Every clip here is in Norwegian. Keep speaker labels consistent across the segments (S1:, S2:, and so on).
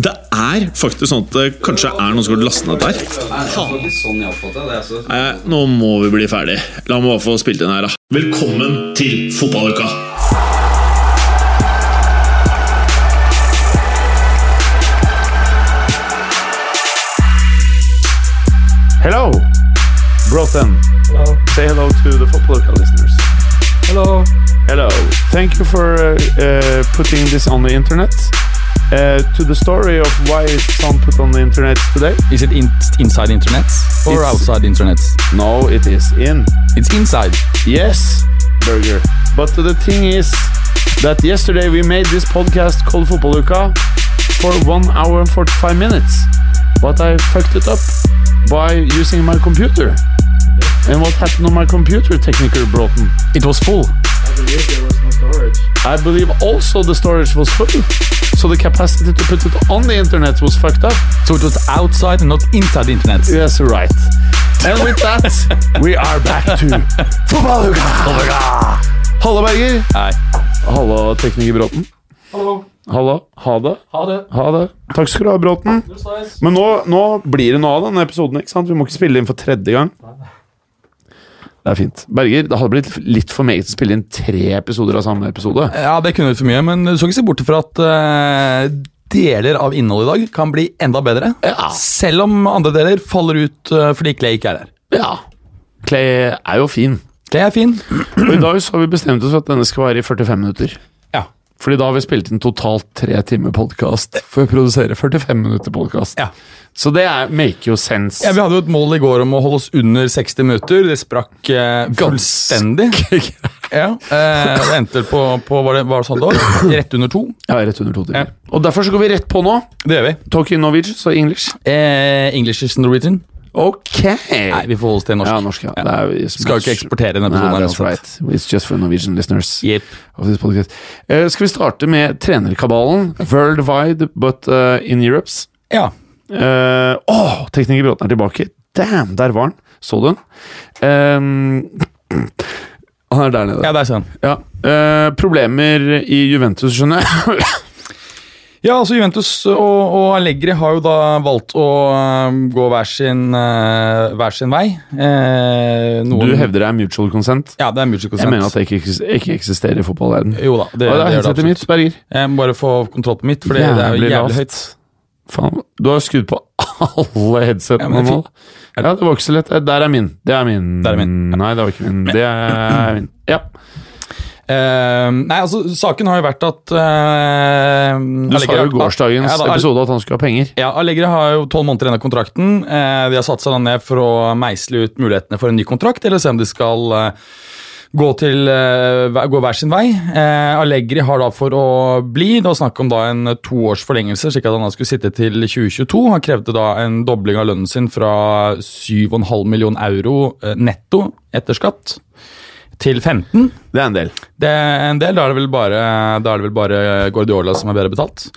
S1: Det er faktisk sånn at det kanskje er noen som har lastet ned dette her. Nei, nå må vi bli ferdig. La meg bare få spilt inn her, da. Velkommen til fotballuka!
S2: Hello, Broughton. Say hello to the football listeners.
S3: Hello.
S2: Hello. Thank you for uh, uh, putting this on the internet. Uh, to the story of why it's on put on the internet today.
S3: Is it in- inside internet or
S2: It's-
S3: outside internet?
S2: No, it is in.
S3: It's inside.
S2: Yes, burger. But the thing is that yesterday we made this podcast called Fotballuka for one hour and 45 minutes. But I fucked it up by using my computer. And what happened on my computer, Technical Broughton?
S3: It was full.
S2: I believe also the storage was full. So the capacity to put it on the internet was fucked up.
S3: So it was outside and not inside internet.
S2: Yes, right. And with that, we are back to Fotballuka! Halla, Berger.
S3: Nei.
S2: Halla, tekniker Bråten. Hallo. Halla. Ha det. Ha det. Takk skal du ha, Bråten. Men nå, nå blir det noe av denne episoden. ikke sant? Vi må ikke spille inn for tredje gang. Det er fint. Berger, det hadde blitt litt for meget å spille inn tre episoder av samme episode.
S3: Ja, det kunne vært for mye, men du skal ikke se bort fra at eh, deler av innholdet i dag kan bli enda bedre.
S2: Ja.
S3: Selv om andre deler faller ut eh, fordi Clay ikke er her.
S2: Ja. Clay er jo fin.
S3: Clay er fin.
S2: Og i dag så har vi bestemt oss for at denne skal vare i 45 minutter.
S3: Ja.
S2: Fordi da har vi spilt inn totalt tre timer podkast for å produsere 45 minutter podkast.
S3: Ja.
S2: Så det er, make jo sense.
S3: ja, Vi hadde jo et mål i går om å holde oss under 60 minutter. Det sprakk eh, fullstendig. Ja, eh, Det endte på, på var det, var det sånn det var? Rett under to.
S2: Ja, rett under to timer. Og derfor så går vi rett på nå.
S3: Det gjør vi.
S2: Talk in Norwegian, så English.
S3: Eh, English is Norwegian.
S2: Ok!
S3: Nei, vi får holde oss til norsk.
S2: Ja, norsk, ja. Det er, it's
S3: Skal jo ikke
S2: much-
S3: eksportere denne
S2: Nei,
S3: episoden her
S2: that's right. It's just for Norwegian listeners.
S3: Jepp.
S2: of this podcast. Eh, skal vi starte med trenerkabalen? Worldwide, but eh, in Europe's.
S3: Ja.
S2: Eh, Åh, tekniker Bråten er tilbake. Damn, der var han. Så du han? Eh, han er der nede.
S3: ja, der ser han.
S2: Ja. Eh, problemer i Juventus, skjønner jeg.
S3: Ja, altså Juventus og, og Allegri har jo da valgt å øhm, gå hver sin, øh, hver sin vei. Eh, noen,
S2: Du hevder det er mutual consent.
S3: Ja, det er mutual consent.
S2: Jeg mener at det ikke, eksis- ikke eksisterer i fotballverdenen.
S3: Jo da,
S2: Hva er
S3: det, det gjør det
S2: headsetet
S3: absolutt.
S2: mitt, Berger?
S3: Jeg må bare få kontroll på mitt, for det, det er jo jævlig høyt.
S2: Faen, du har skudd på alle
S3: Ja,
S2: headsetene
S3: men det er
S2: nå. Ja, det var ikke så lett. Der er min. Det er min.
S3: Der er min.
S2: Nei, det var ikke min. Det er min. Ja.
S3: Eh, nei, altså, saken har jo vært at øh,
S2: Du
S3: Allegri
S2: sa
S3: har-
S2: jo i gårsdagens
S3: Ja, da, Al-
S2: episode at han skulle ha penger.
S3: Ja, Allegri har jo tolv måneder igjen av kontrakten. Eh, de har satt seg da ned for å meisle ut mulighetene for en ny kontrakt, eller se om de skal eh, gå, til, eh, hver- gå hver sin vei. Eh, Allegri har da for å bli. Det var snakk om da en toårs forlengelse, slik at han da skulle sitte til 2022. Han krevde da en dobling av lønnen sin fra 7,5 million euro eh, netto etter skatt til 15.
S2: Det er en del.
S3: Det er en del, da er det vel bare, da er det vel bare Guardiola som er bedre betalt.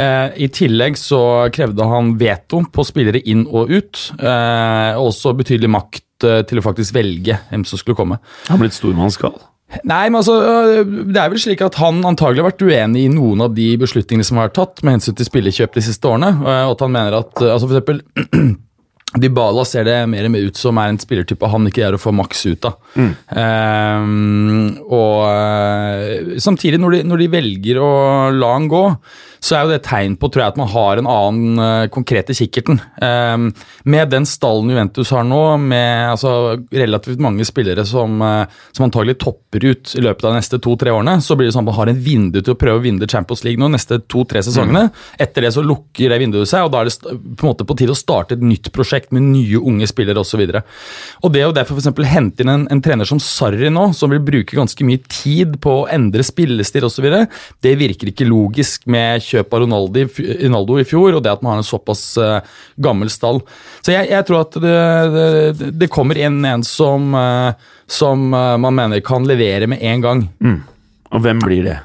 S3: Eh, I tillegg så krevde han veto på spillere inn og ut, eh, og også betydelig makt eh, til å faktisk velge hvem som skulle komme.
S2: Han er blitt stormannsgal.
S3: Nei, men altså, øh, det er vel slik at han antagelig har vært uenig i noen av de beslutningene som har vært tatt med hensyn til spillekjøp de siste årene, øh, og at han mener at øh, altså for eksempel Dybala ser det mer og mer ut som er en spillertype han ikke er å få maks ut av. Ehm, og øh, samtidig, når de, når de velger å la han gå, så er jo det et tegn på tror jeg, at man har en annen øh, konkret i kikkerten. Ehm, med den stallen Juventus har nå, med altså, relativt mange spillere som, eh, som antagelig topper ut i løpet av de neste to-tre årene, så blir det sånn at man har en vindu til å prøve å vinne Champions League nå neste to-tre sesongene. Etter det så lukker det vinduet seg, og da er det st- på en måte på tide å starte et nytt prosjekt med nye unge spillere osv. Og det å derfor for eksempel hente inn en, en trener som Sarri nå, som vil bruke ganske mye tid på å endre spillestil osv., det virker ikke logisk med kjøp av Ronaldo, i fj- Ronaldo i fjor, og det at man har en såpass eh, gammel stall. Så jeg, jeg tror at det, det, det kommer inn en som, eh, som eh, man mener kan levere med en gang.
S2: Og hvem blir det?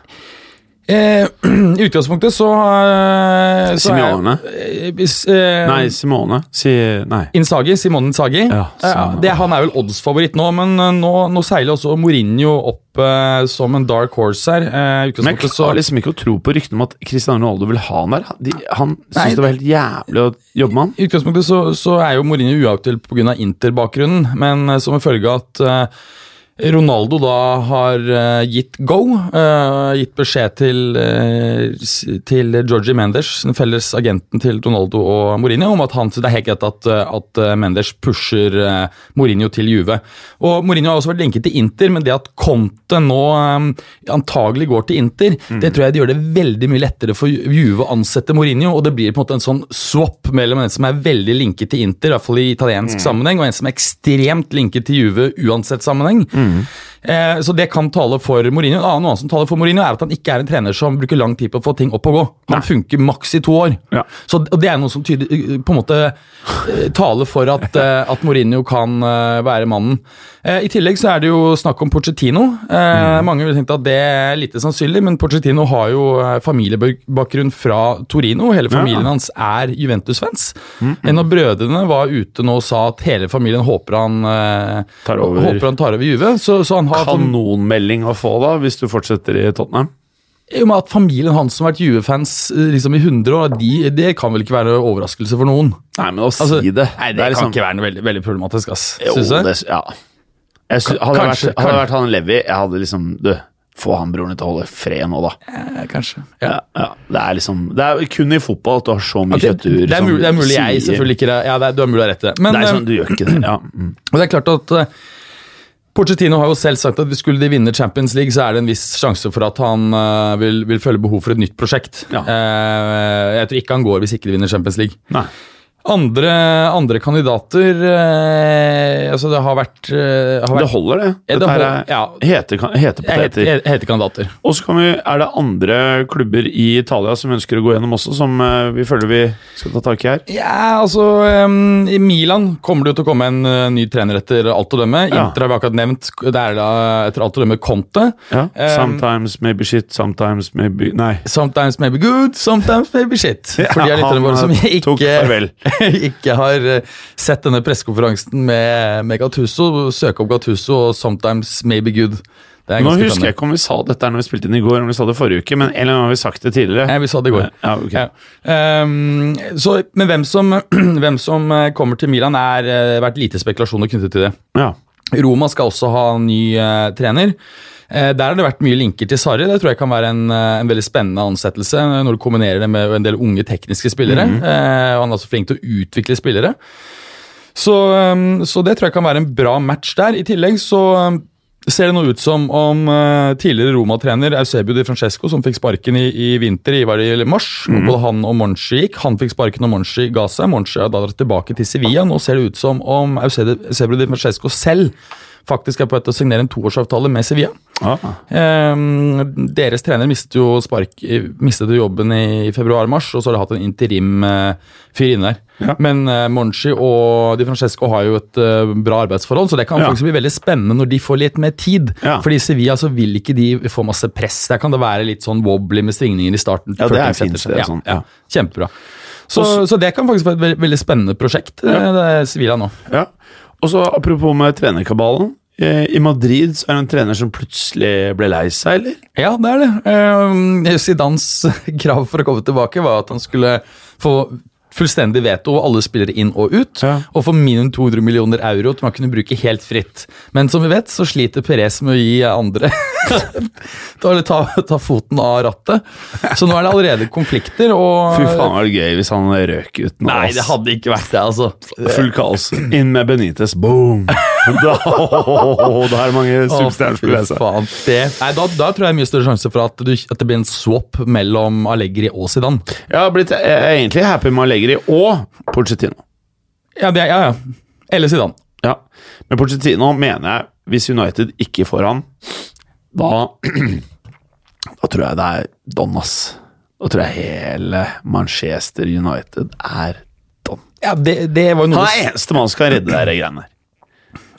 S3: Eh, I utgangspunktet så, eh, så er-
S2: Simeone?
S3: Eh, hvis, eh,
S2: Nei, Simone. Si Nei.
S3: Insagi, Simone Insagi.
S2: Ja,
S3: Eh,
S2: Simone.
S3: det, han er vel oddsfavoritt nå, men eh, nå, nå seiler også Mourinho opp eh, som en dark horse her. Eh, i
S2: Men jeg
S3: utgangspunktet så-
S2: klarer liksom ikke å tro på ryktene om at Cristiano Ronaldo vil ha han der. Han- De, han
S3: Nei.
S2: syntes det var helt jævlig å jobbe med han.
S3: I utgangspunktet så, så er jo Mourinho uaktuell pga. Inter-bakgrunnen, men eh, som en følge av at eh, Ronaldo da har eh, gitt go, eh, gitt beskjed til, eh, s- til Georgie Mendes, den felles agenten til Ronaldo og Mourinho, om at han, det er helt greit at, eh, at eh, Mendes pusher eh, Mourinho til Juve. Og Mourinho har også vært linket til Inter, men det at Conte nå eh, antagelig går til Inter, det tror jeg det gjør det veldig mye lettere for Ju- Juve å ansette Mourinho, og det blir på en måte en sånn swap mellom en som er veldig linket til Inter, i hvert fall i italiensk sammenheng, og en som er ekstremt linket til Juve uansett sammenheng. Eh, så det kan tale for Mourinho. En annen, annen som taler for Mourinho, er at han ikke er en trener som bruker lang tid på å få ting opp og gå. Han funker maks i to år.
S2: Ja.
S3: Så, og det er noe som tyder, på en måte eh, taler for at, eh, at Mourinho kan eh, være mannen. Eh, I tillegg så er det jo snakk om Pochettino.
S2: Mm.
S3: Eh, Mange ville tenkt at det er lite sannsynlig, men Pochettino har jo eh, familiebakgrunn fra Torino. Hele
S2: Ja.
S3: familien
S2: Mm,
S3: hans er Juventus-fans. En av brødrene var ute nå og sa at hele familien håper han eh,
S2: Tar over.
S3: Håper han tar over Juve. Så, så han har
S2: Kanonmelding å få da, hvis du fortsetter i Tottenham.
S3: I og med at familien hans som har vært Juve-fans eh, liksom i 100 år, de, det kan vel ikke være overraskelse for noen?
S2: Nei, men å
S3: Altså,
S2: si det liksom-
S3: Nei, Det, kan ikke være noe veldig, veldig problematisk, ass.
S2: Jo,
S3: Synes jeg?
S2: det, ja. Jeg sy- hadde, vært,
S3: Kanskje,
S2: hadde
S3: kanskje.
S2: vært han Levi, jeg hadde liksom Du, få han broren din til å holde fred nå, da.
S3: Eh, kanskje.
S2: Ja, ja. Det er liksom Det er kun i fotball at du har så mye
S3: Det, det,
S2: kjøttur
S3: er
S2: som
S3: mulig, det er mulig jeg
S2: sier-
S3: selvfølgelig ikke er- Ja, det er, du har mulig å ha rett i det. Men
S2: Det er
S3: eh,
S2: sånn, du gjør ikke det. Ja. mm.
S3: Og det er klart at eh, Pochettino har jo selv sagt at skulle de vinne Champions League, så er det en viss sjanse for at han eh, vil, vil føle behov for et nytt prosjekt.
S2: Ja.
S3: Eh, jeg tror ikke han går hvis ikke de vinner Champions League.
S2: Nei.
S3: Andre, andre kandidater eh, Altså, det har vært, eh, har
S2: Det
S3: vært
S2: holder, det.
S3: Ja, det
S2: Dette her
S3: holder,
S2: er
S3: ja.
S2: hete, hete
S3: jeg heter,
S2: poteter.
S3: jeg heter kandidater.
S2: Og så kan vi, er det andre klubber i Italia som ønsker å gå gjennom også, som eh, vi føler vi skal ta tak i her?
S3: Ja, altså ehm, I Milan kommer det jo til å komme en eh, ny trener etter alt å dømme.
S2: Ja.
S3: Inter har vi akkurat nevnt. Det er da etter alt å dømme Conte.
S2: Ja.
S3: Eh,
S2: Sometimes maybe shit, sometimes maybe Nei.
S3: Sometimes maybe good, sometimes maybe shit. For de
S2: Ja,
S3: av lytterne våre som
S2: han, eh, tok farvel.
S3: ikke, ikke har eh, sett denne pressekonferansen med, med Gattuso, søk opp Gattuso og sometimes maybe good. Det er
S2: Nå
S3: ganske
S2: husker jeg ikke om vi sa dette her når vi spilte inn i går, om vi sa det forrige uke, men en eller annen gang har vi sagt det tidligere.
S3: Nei, vi sa det i går.
S2: Ja, ok.
S3: Ja. Ehm, så, men hvem som, hvem som eh, kommer til Milan, er eh, vært lite spekulasjoner knyttet til det.
S2: Ja.
S3: Roma skal også ha en ny eh, trener. Eh, der har det vært mye linker til Sarri. Det tror jeg kan være en, eh, en veldig spennende ansettelse eh, når du kombinerer det med en del unge tekniske spillere. eh, og han er også flink til å utvikle spillere. Så, eh, så det tror jeg kan være en bra match der. I tillegg så eh, ser det nå ut som om eh, tidligere Roma-trener Eusebio Di Francesco, som fikk sparken i, i vinter, i var det i mars, hvor både han og Monchi gikk. Han fikk sparken, og Monchi ga seg. Monchi har da dratt tilbake til Sevilla. Nå ser det ut som om Eusebio Eusebio Di Francesco selv faktisk er på vei til å signere en toårsavtale med Sevilla.
S2: Ah.
S3: Ehm, deres trener mistet jo, spark, mistet jo jobben i februar-mars, og så har de hatt en interim-fyr inne der.
S2: Ja.
S3: Men eh, Monchi og Di Francesco har jo et eh, bra arbeidsforhold, så det kan
S2: Ja.
S3: faktisk bli veldig spennende når de får litt mer tid.
S2: Ja.
S3: Fordi i Sevilla så vil ikke de få masse press. Der kan det være litt sånn wobbly med svingninger i starten.
S2: Ja,
S3: før
S2: det er
S3: ting setter
S2: fint,
S3: seg.
S2: det er sånn, ja.
S3: Kjempebra. Så, så det kan faktisk være et ve- veldig spennende prosjekt, eh, det er Sevilla nå.
S2: Ja. Og så apropos med trenerkabalen. eh, I Madrid så er det en trener som plutselig ble lei seg, eller?
S3: Ja, det er det. Eh, Zidans krav for å komme tilbake var at han skulle få fullstendig veto og alle spillere inn og ut,
S2: Ja.
S3: og få minimum 200 millioner euro til man kunne bruke helt fritt. Men som vi vet, så sliter Perez med å gi andre ta, ta, ta foten av rattet. Så nå er det allerede konflikter, og
S2: Fy faen, var det gøy hvis han røk ut nå.
S3: Ah. Nei,
S2: ass.
S3: det hadde ikke vært det, altså.
S2: Full kaos. Inn med Benitez, boom! Da, da er det mange superstjerner som blir lei
S3: Å, fy
S2: seg.
S3: faen, det. Nei, da, da tror jeg det er mye større sjanse for at, du, at det blir en swap mellom Allegri og Zidane.
S2: Jeg har blitt jeg er egentlig happy med Allegri og Pochettino.
S3: Ja, det, er- ja, ja. Eller Zidane.
S2: Ja. Men Pochettino mener jeg, hvis United ikke får han, da Da tror jeg det er don, ass. Da tror jeg hele Manchester United er don.
S3: Ja, det, det var
S2: Han
S3: jo noe
S2: er eneste mann som kan redde de greiene der.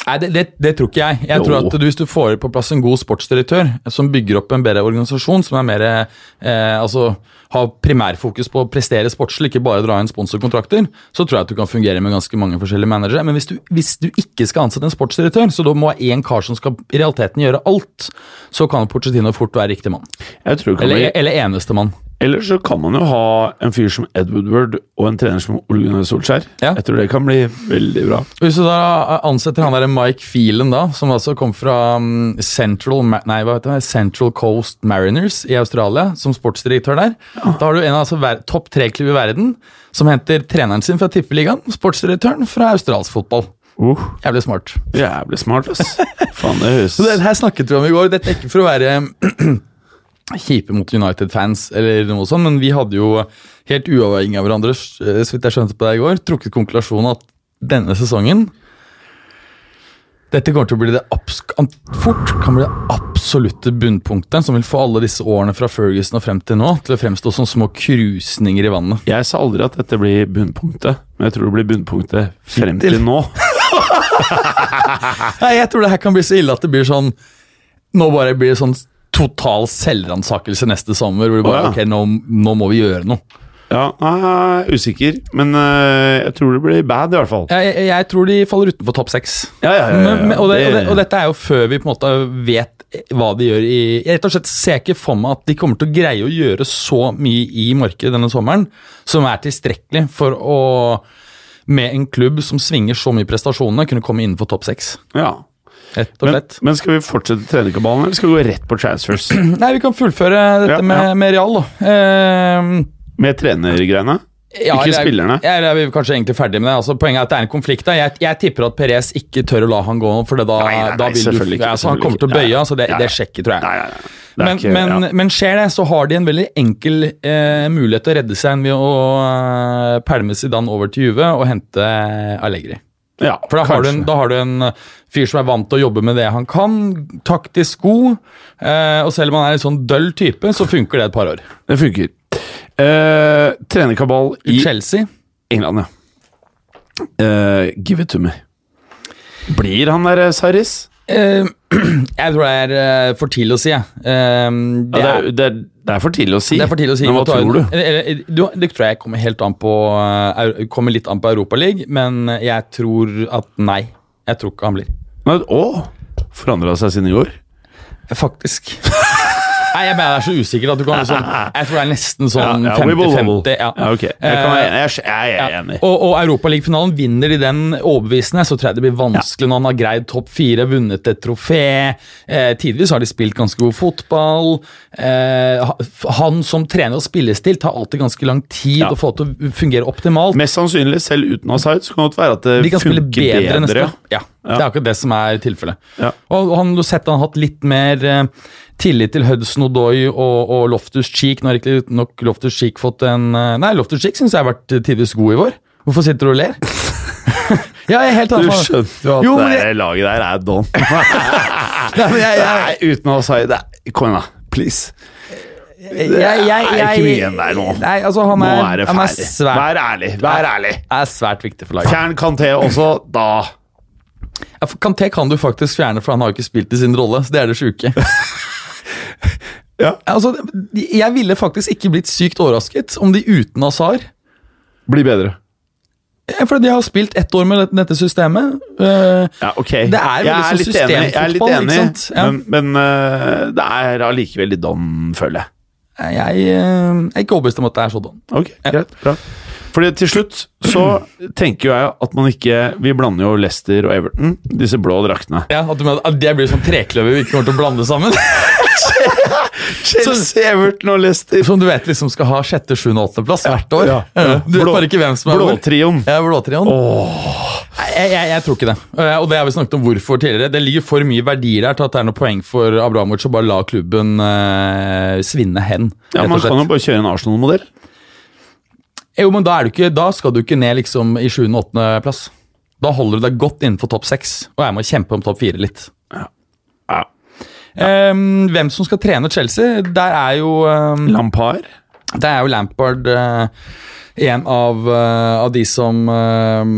S3: Nei, det, det, det tror ikke jeg. Jeg
S2: Jo.
S3: tror at du, Hvis du får på plass en god sportsdirektør som bygger opp en bedre organisasjon, som er mer eh, altså, har primærfokus på å prestere sportslig, ikke bare dra inn sponsorkontrakter, så tror jeg at du kan fungere med ganske mange forskjellige managere. Men hvis du, hvis du ikke skal ansette en sportsdirektør, så da må én kar som skal i realiteten gjøre alt, så kan Porcetino fort være riktig mann.
S2: Jeg tror det kan bli-
S3: Eller, e- eller eneste mann.
S2: Ellers så kan man jo ha en fyr som Ed Woodward og en trener som Ole Gunnar Solskjær.
S3: Ja.
S2: Jeg tror det kan bli veldig bra.
S3: Hvis du da eh, ansetter han der Mike Phelan, da, som altså kom fra mm, Central, Ma- nei, hva heter det? Central Coast Mariners i Australia, som sportsdirektør der, da har du en av altså, ver- topp tre-klubb i verden som henter treneren sin fra tippeligaen, sportsdirektøren fra australsk fotball.
S2: Uh,
S3: Jævlig smart.
S2: jævlig smart, ass. Faen, det høres
S3: Så det her snakket vi om i går. Dette er ikke for å være kjipe mot United-fans, eller noe sånt, men vi hadde jo helt uavhengig av hverandre, s- eh, så vidt jeg skjønte på deg i går, trukket konklusjonen at denne sesongen dette kommer til å bli det abs an- fort kan bli det absolutte bunnpunktet som vil få alle disse årene fra Ferguson og frem til nå til å fremstå som små krusninger i vannet.
S2: Jeg sa aldri at dette blir bunnpunktet, men jeg tror det blir bunnpunktet frem til nå.
S3: Nei, jeg tror det her kan bli så ille at det blir sånn Nå bare blir det sånn total selvransakelse neste sommer. Hvor det bare,
S2: Å, ja.
S3: ok, nå, nå må vi gjøre noe.
S2: Ja, nei, usikker, men eh, jeg tror det blir bad, i hvert fall.
S3: Jeg, jeg, jeg tror de faller utenfor topp seks.
S2: Ja, ja, ja, ja,
S3: Men- men- og, det- og,
S2: det-
S3: det- og dette er jo før vi på en måte vet hva de gjør i jeg Rett og slett ser jeg ikke for meg at de kommer til å greie å gjøre så mye i markedet denne sommeren som er tilstrekkelig for å med en klubb som svinger så mye i prestasjonene, kunne komme innenfor topp seks.
S2: ja.
S3: Rett og
S2: Men,
S3: slett.
S2: men skal vi fortsette trenerkabalen, eller skal vi gå rett på transfers?
S3: Nei, vi kan fullføre dette
S2: Ja,
S3: med,
S2: ja.
S3: med Real, da. Ehm,
S2: Med trenergreiene?
S3: Ja,
S2: Ikke
S3: eller-
S2: spillerne.
S3: Ja, eller er vi kanskje egentlig ferdig med det. Altså, poenget er at det er en konflikt. Da. Jeg, jeg tipper at Perez ikke tør å la han gå, for det da,
S2: Nei, nei, nei,
S3: da vil du
S2: selvfølgelig ikke,
S3: ja, så Han
S2: selvfølgelig
S3: kommer til å
S2: ikke.
S3: bøye,
S2: Ja, ja.
S3: så det,
S2: Ja, ja.
S3: det er sjekket, tror jeg.
S2: Nei, nei, nei. Det er
S3: Men,
S2: ikke-
S3: men,
S2: ja.
S3: men skjer det, så har de en veldig enkel eh, mulighet til å redde seg ved å eh, pælme Zidane over til Juve og hente Allegri.
S2: ja,
S3: For da har, du en,
S2: kanskje.
S3: da har du en eh, fyr som er vant til å jobbe med det han kan, taktisk god, eh, og selv om han er en sånn døll type, så funker det et par år.
S2: Det funker. Eh, trenerkabal i
S3: Chelsea
S2: England, ja. Eh, give it to me. Blir han der eh, Sarris?
S3: Eh, jeg tror det er eh, for tidlig å si, jeg. Eh, det,
S2: Ja,
S3: er,
S2: det, er, det, er, det er for tidlig å si.
S3: det er for tidlig å si.
S2: Men hva
S3: Du tar-
S2: tror du?
S3: Eller, eller, du- Det tror jeg kommer helt an på eh, eu- Kommer litt an på Europaligaen, men jeg tror at nei. Jeg tror ikke han blir.
S2: Nei, Å! Forandra seg siden i går?
S3: Faktisk. Nei, jeg mener det er så usikkert at du kan liksom Jeg tror det er nesten sånn
S2: ja, we will, we will.
S3: 50-50. Ja.
S2: Ja, ok. Jeg, kan være enig. jeg, er- jeg er
S3: Ja.
S2: enig.
S3: Og, og Europaligafinalen vinner de den overbevisende, så tror jeg det blir vanskelig når han har greid topp fire, vunnet et trofé. Eh, tidvis har de spilt ganske god fotball. Eh, ha- han som trener og spillestil tar alltid ganske lang tid
S2: Ja.
S3: å få til å fungere optimalt.
S2: Mest sannsynlig, selv uten Asaid, så kan det godt være at det
S3: De kan spille
S2: funker
S3: bedre,
S2: bedre.
S3: neste år. Ja,
S2: Ja.
S3: Det er akkurat det som er tilfellet.
S2: Ja.
S3: Og han, du har sett han har hatt litt mer eh, tillit til Hudson Odoi og, og Loftus Cheek. Nå har ikke nok Loftus Cheek fått en eh, Nei, Loftus Cheek syns jeg har vært eh, tidvis god i vår. Hvorfor sitter du og ler? ja, jeg er helt
S2: Du
S3: annet.
S2: skjønner jo at
S3: Jo, men
S2: det
S3: jeg,
S2: der laget der er don.
S3: nei, men jeg, jeg,
S2: Nei, uten Asaid Kom igjen, da. Please.
S3: jeg, jeg, jeg,
S2: Det er ikke mye igjen der nå.
S3: Nei, altså, han
S2: Nå
S3: er,
S2: er det
S3: han er
S2: ferdig.
S3: svært,
S2: Vær ærlig. Vær ærlig.
S3: er svært viktig for laget.
S2: Fjern Kanté også, da
S3: Ja, for Kanté kan du faktisk fjerne, for han har jo ikke spilt i sin rolle. så Det er det sjuke.
S2: Ja.
S3: Altså, jeg ville faktisk ikke blitt sykt overrasket om de uten Azar
S2: Bli bedre.
S3: Ja, For de har spilt ett år med dette- dette systemet. Eh,
S2: Ja, ok.
S3: Det er veldig
S2: jeg
S3: sånn
S2: er litt enig, jeg er litt
S3: systemfotball,
S2: enig
S3: ikke sant? Ja.
S2: men, men eh, det er allikevel litt don, føler jeg.
S3: jeg, eh, jeg er ikke overbevist om at det er sånn.
S2: Ok, greit, bra. Fordi til slutt så tenker jo jeg at man ikke Vi blander jo Leicester og Everton, disse blå draktene.
S3: Ja, at, du mener at det blir sånn trekløver vi ikke kommer til å blande sammen.
S2: Chelsea, Everton og Leicester.
S3: Som du vet liksom skal ha sjette, sjuende og åttendeplass hvert år.
S2: ja,
S3: Eh, Du vet bare ikke hvem som er hvor.
S2: Blåtrioen.
S3: Ja, blåtrioen. Nei, Jeg, jeg, jeg tror ikke det. Eh, Og det har vi snakket om hvorfor tidligere. Det ligger for mye verdier der til at det er noe poeng for Abramovic å bare la klubben eh, svinne hen.
S2: Ja,
S3: rett og
S2: Man
S3: slett.
S2: kan jo bare kjøre en Arsenal-modell.
S3: Jo, men da, er du ikke, da skal du ikke ned liksom i 7. og 8. plass. Da holder du deg godt innenfor topp 6, og jeg må kjempe om topp 4 litt.
S2: Ja.
S3: Ehm, hvem som skal trene Chelsea, der er jo ehm,
S2: Lampard.
S3: Det er jo Lampard eh, en av, eh, av de som eh,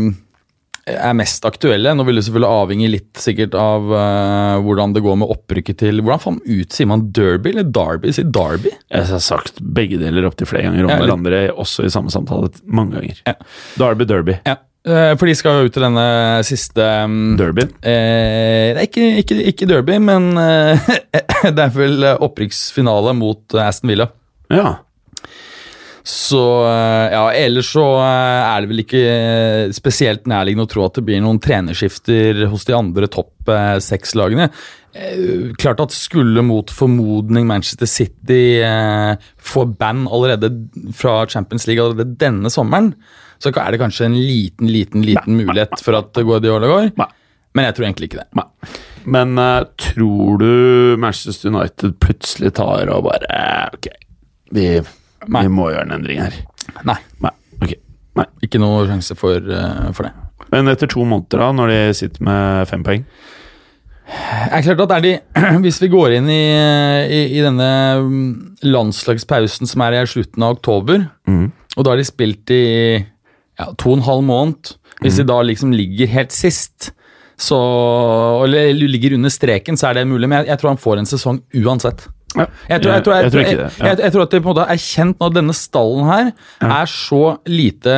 S3: er mest aktuelle. Nå vil det selvfølgelig avhenge litt sikkert av eh, hvordan det går med opprykket til Hvordan faen ut sier man Derby eller Derby? Sier Derby?
S2: Jeg har sagt begge deler opptil flere ganger om
S3: Ja, litt-
S2: hverandre, også i samme samtale mange ganger.
S3: Ja.
S2: Derby, derby.
S3: Ja. eh, For de skal jo ut til denne siste mm,
S2: Derby.
S3: Eh, nei, ikke, ikke, ikke derby, men eh, det er vel eh, opprykksfinale mot eh, Aston Villa.
S2: Ja.
S3: Så eh, ja, ellers så eh, er det vel ikke eh, spesielt nærliggende å tro at det blir noen trenerskifter hos de andre topp eh, seks lagene. Eh, Klart at skulle mot formodning Manchester City eh, få band allerede fra Champions League allerede denne sommeren, så er det kanskje en liten, liten, liten mulighet for at Guardiola går.
S2: Nei.
S3: Men jeg tror egentlig ikke det.
S2: Nei. Men eh, tror du Manchester United plutselig tar og bare eh, Ok, vi, vi
S3: Nei.
S2: må gjøre en endring her.
S3: Nei.
S2: Nei. ok. Nei.
S3: Ikke noe sjanse for, eh, for det.
S2: Men etter to måneder, da, når de sitter med fem poeng
S3: Det er klart at er de, Hvis vi går inn i, i, i denne mm, landslagspausen som er i slutten av oktober, og da har de spilt i ja, to og en halv måned Hvis de da liksom ligger helt sist, så, eller ligger under streken, så er det mulig. Men jeg, jeg tror han får en sesong uansett.
S2: ja.
S3: Jeg tror, jeg, tror, jeg,
S2: jeg tror ikke det.
S3: Jeg, jeg, jeg tror at de på en måte har erkjent nå at denne stallen her er så lite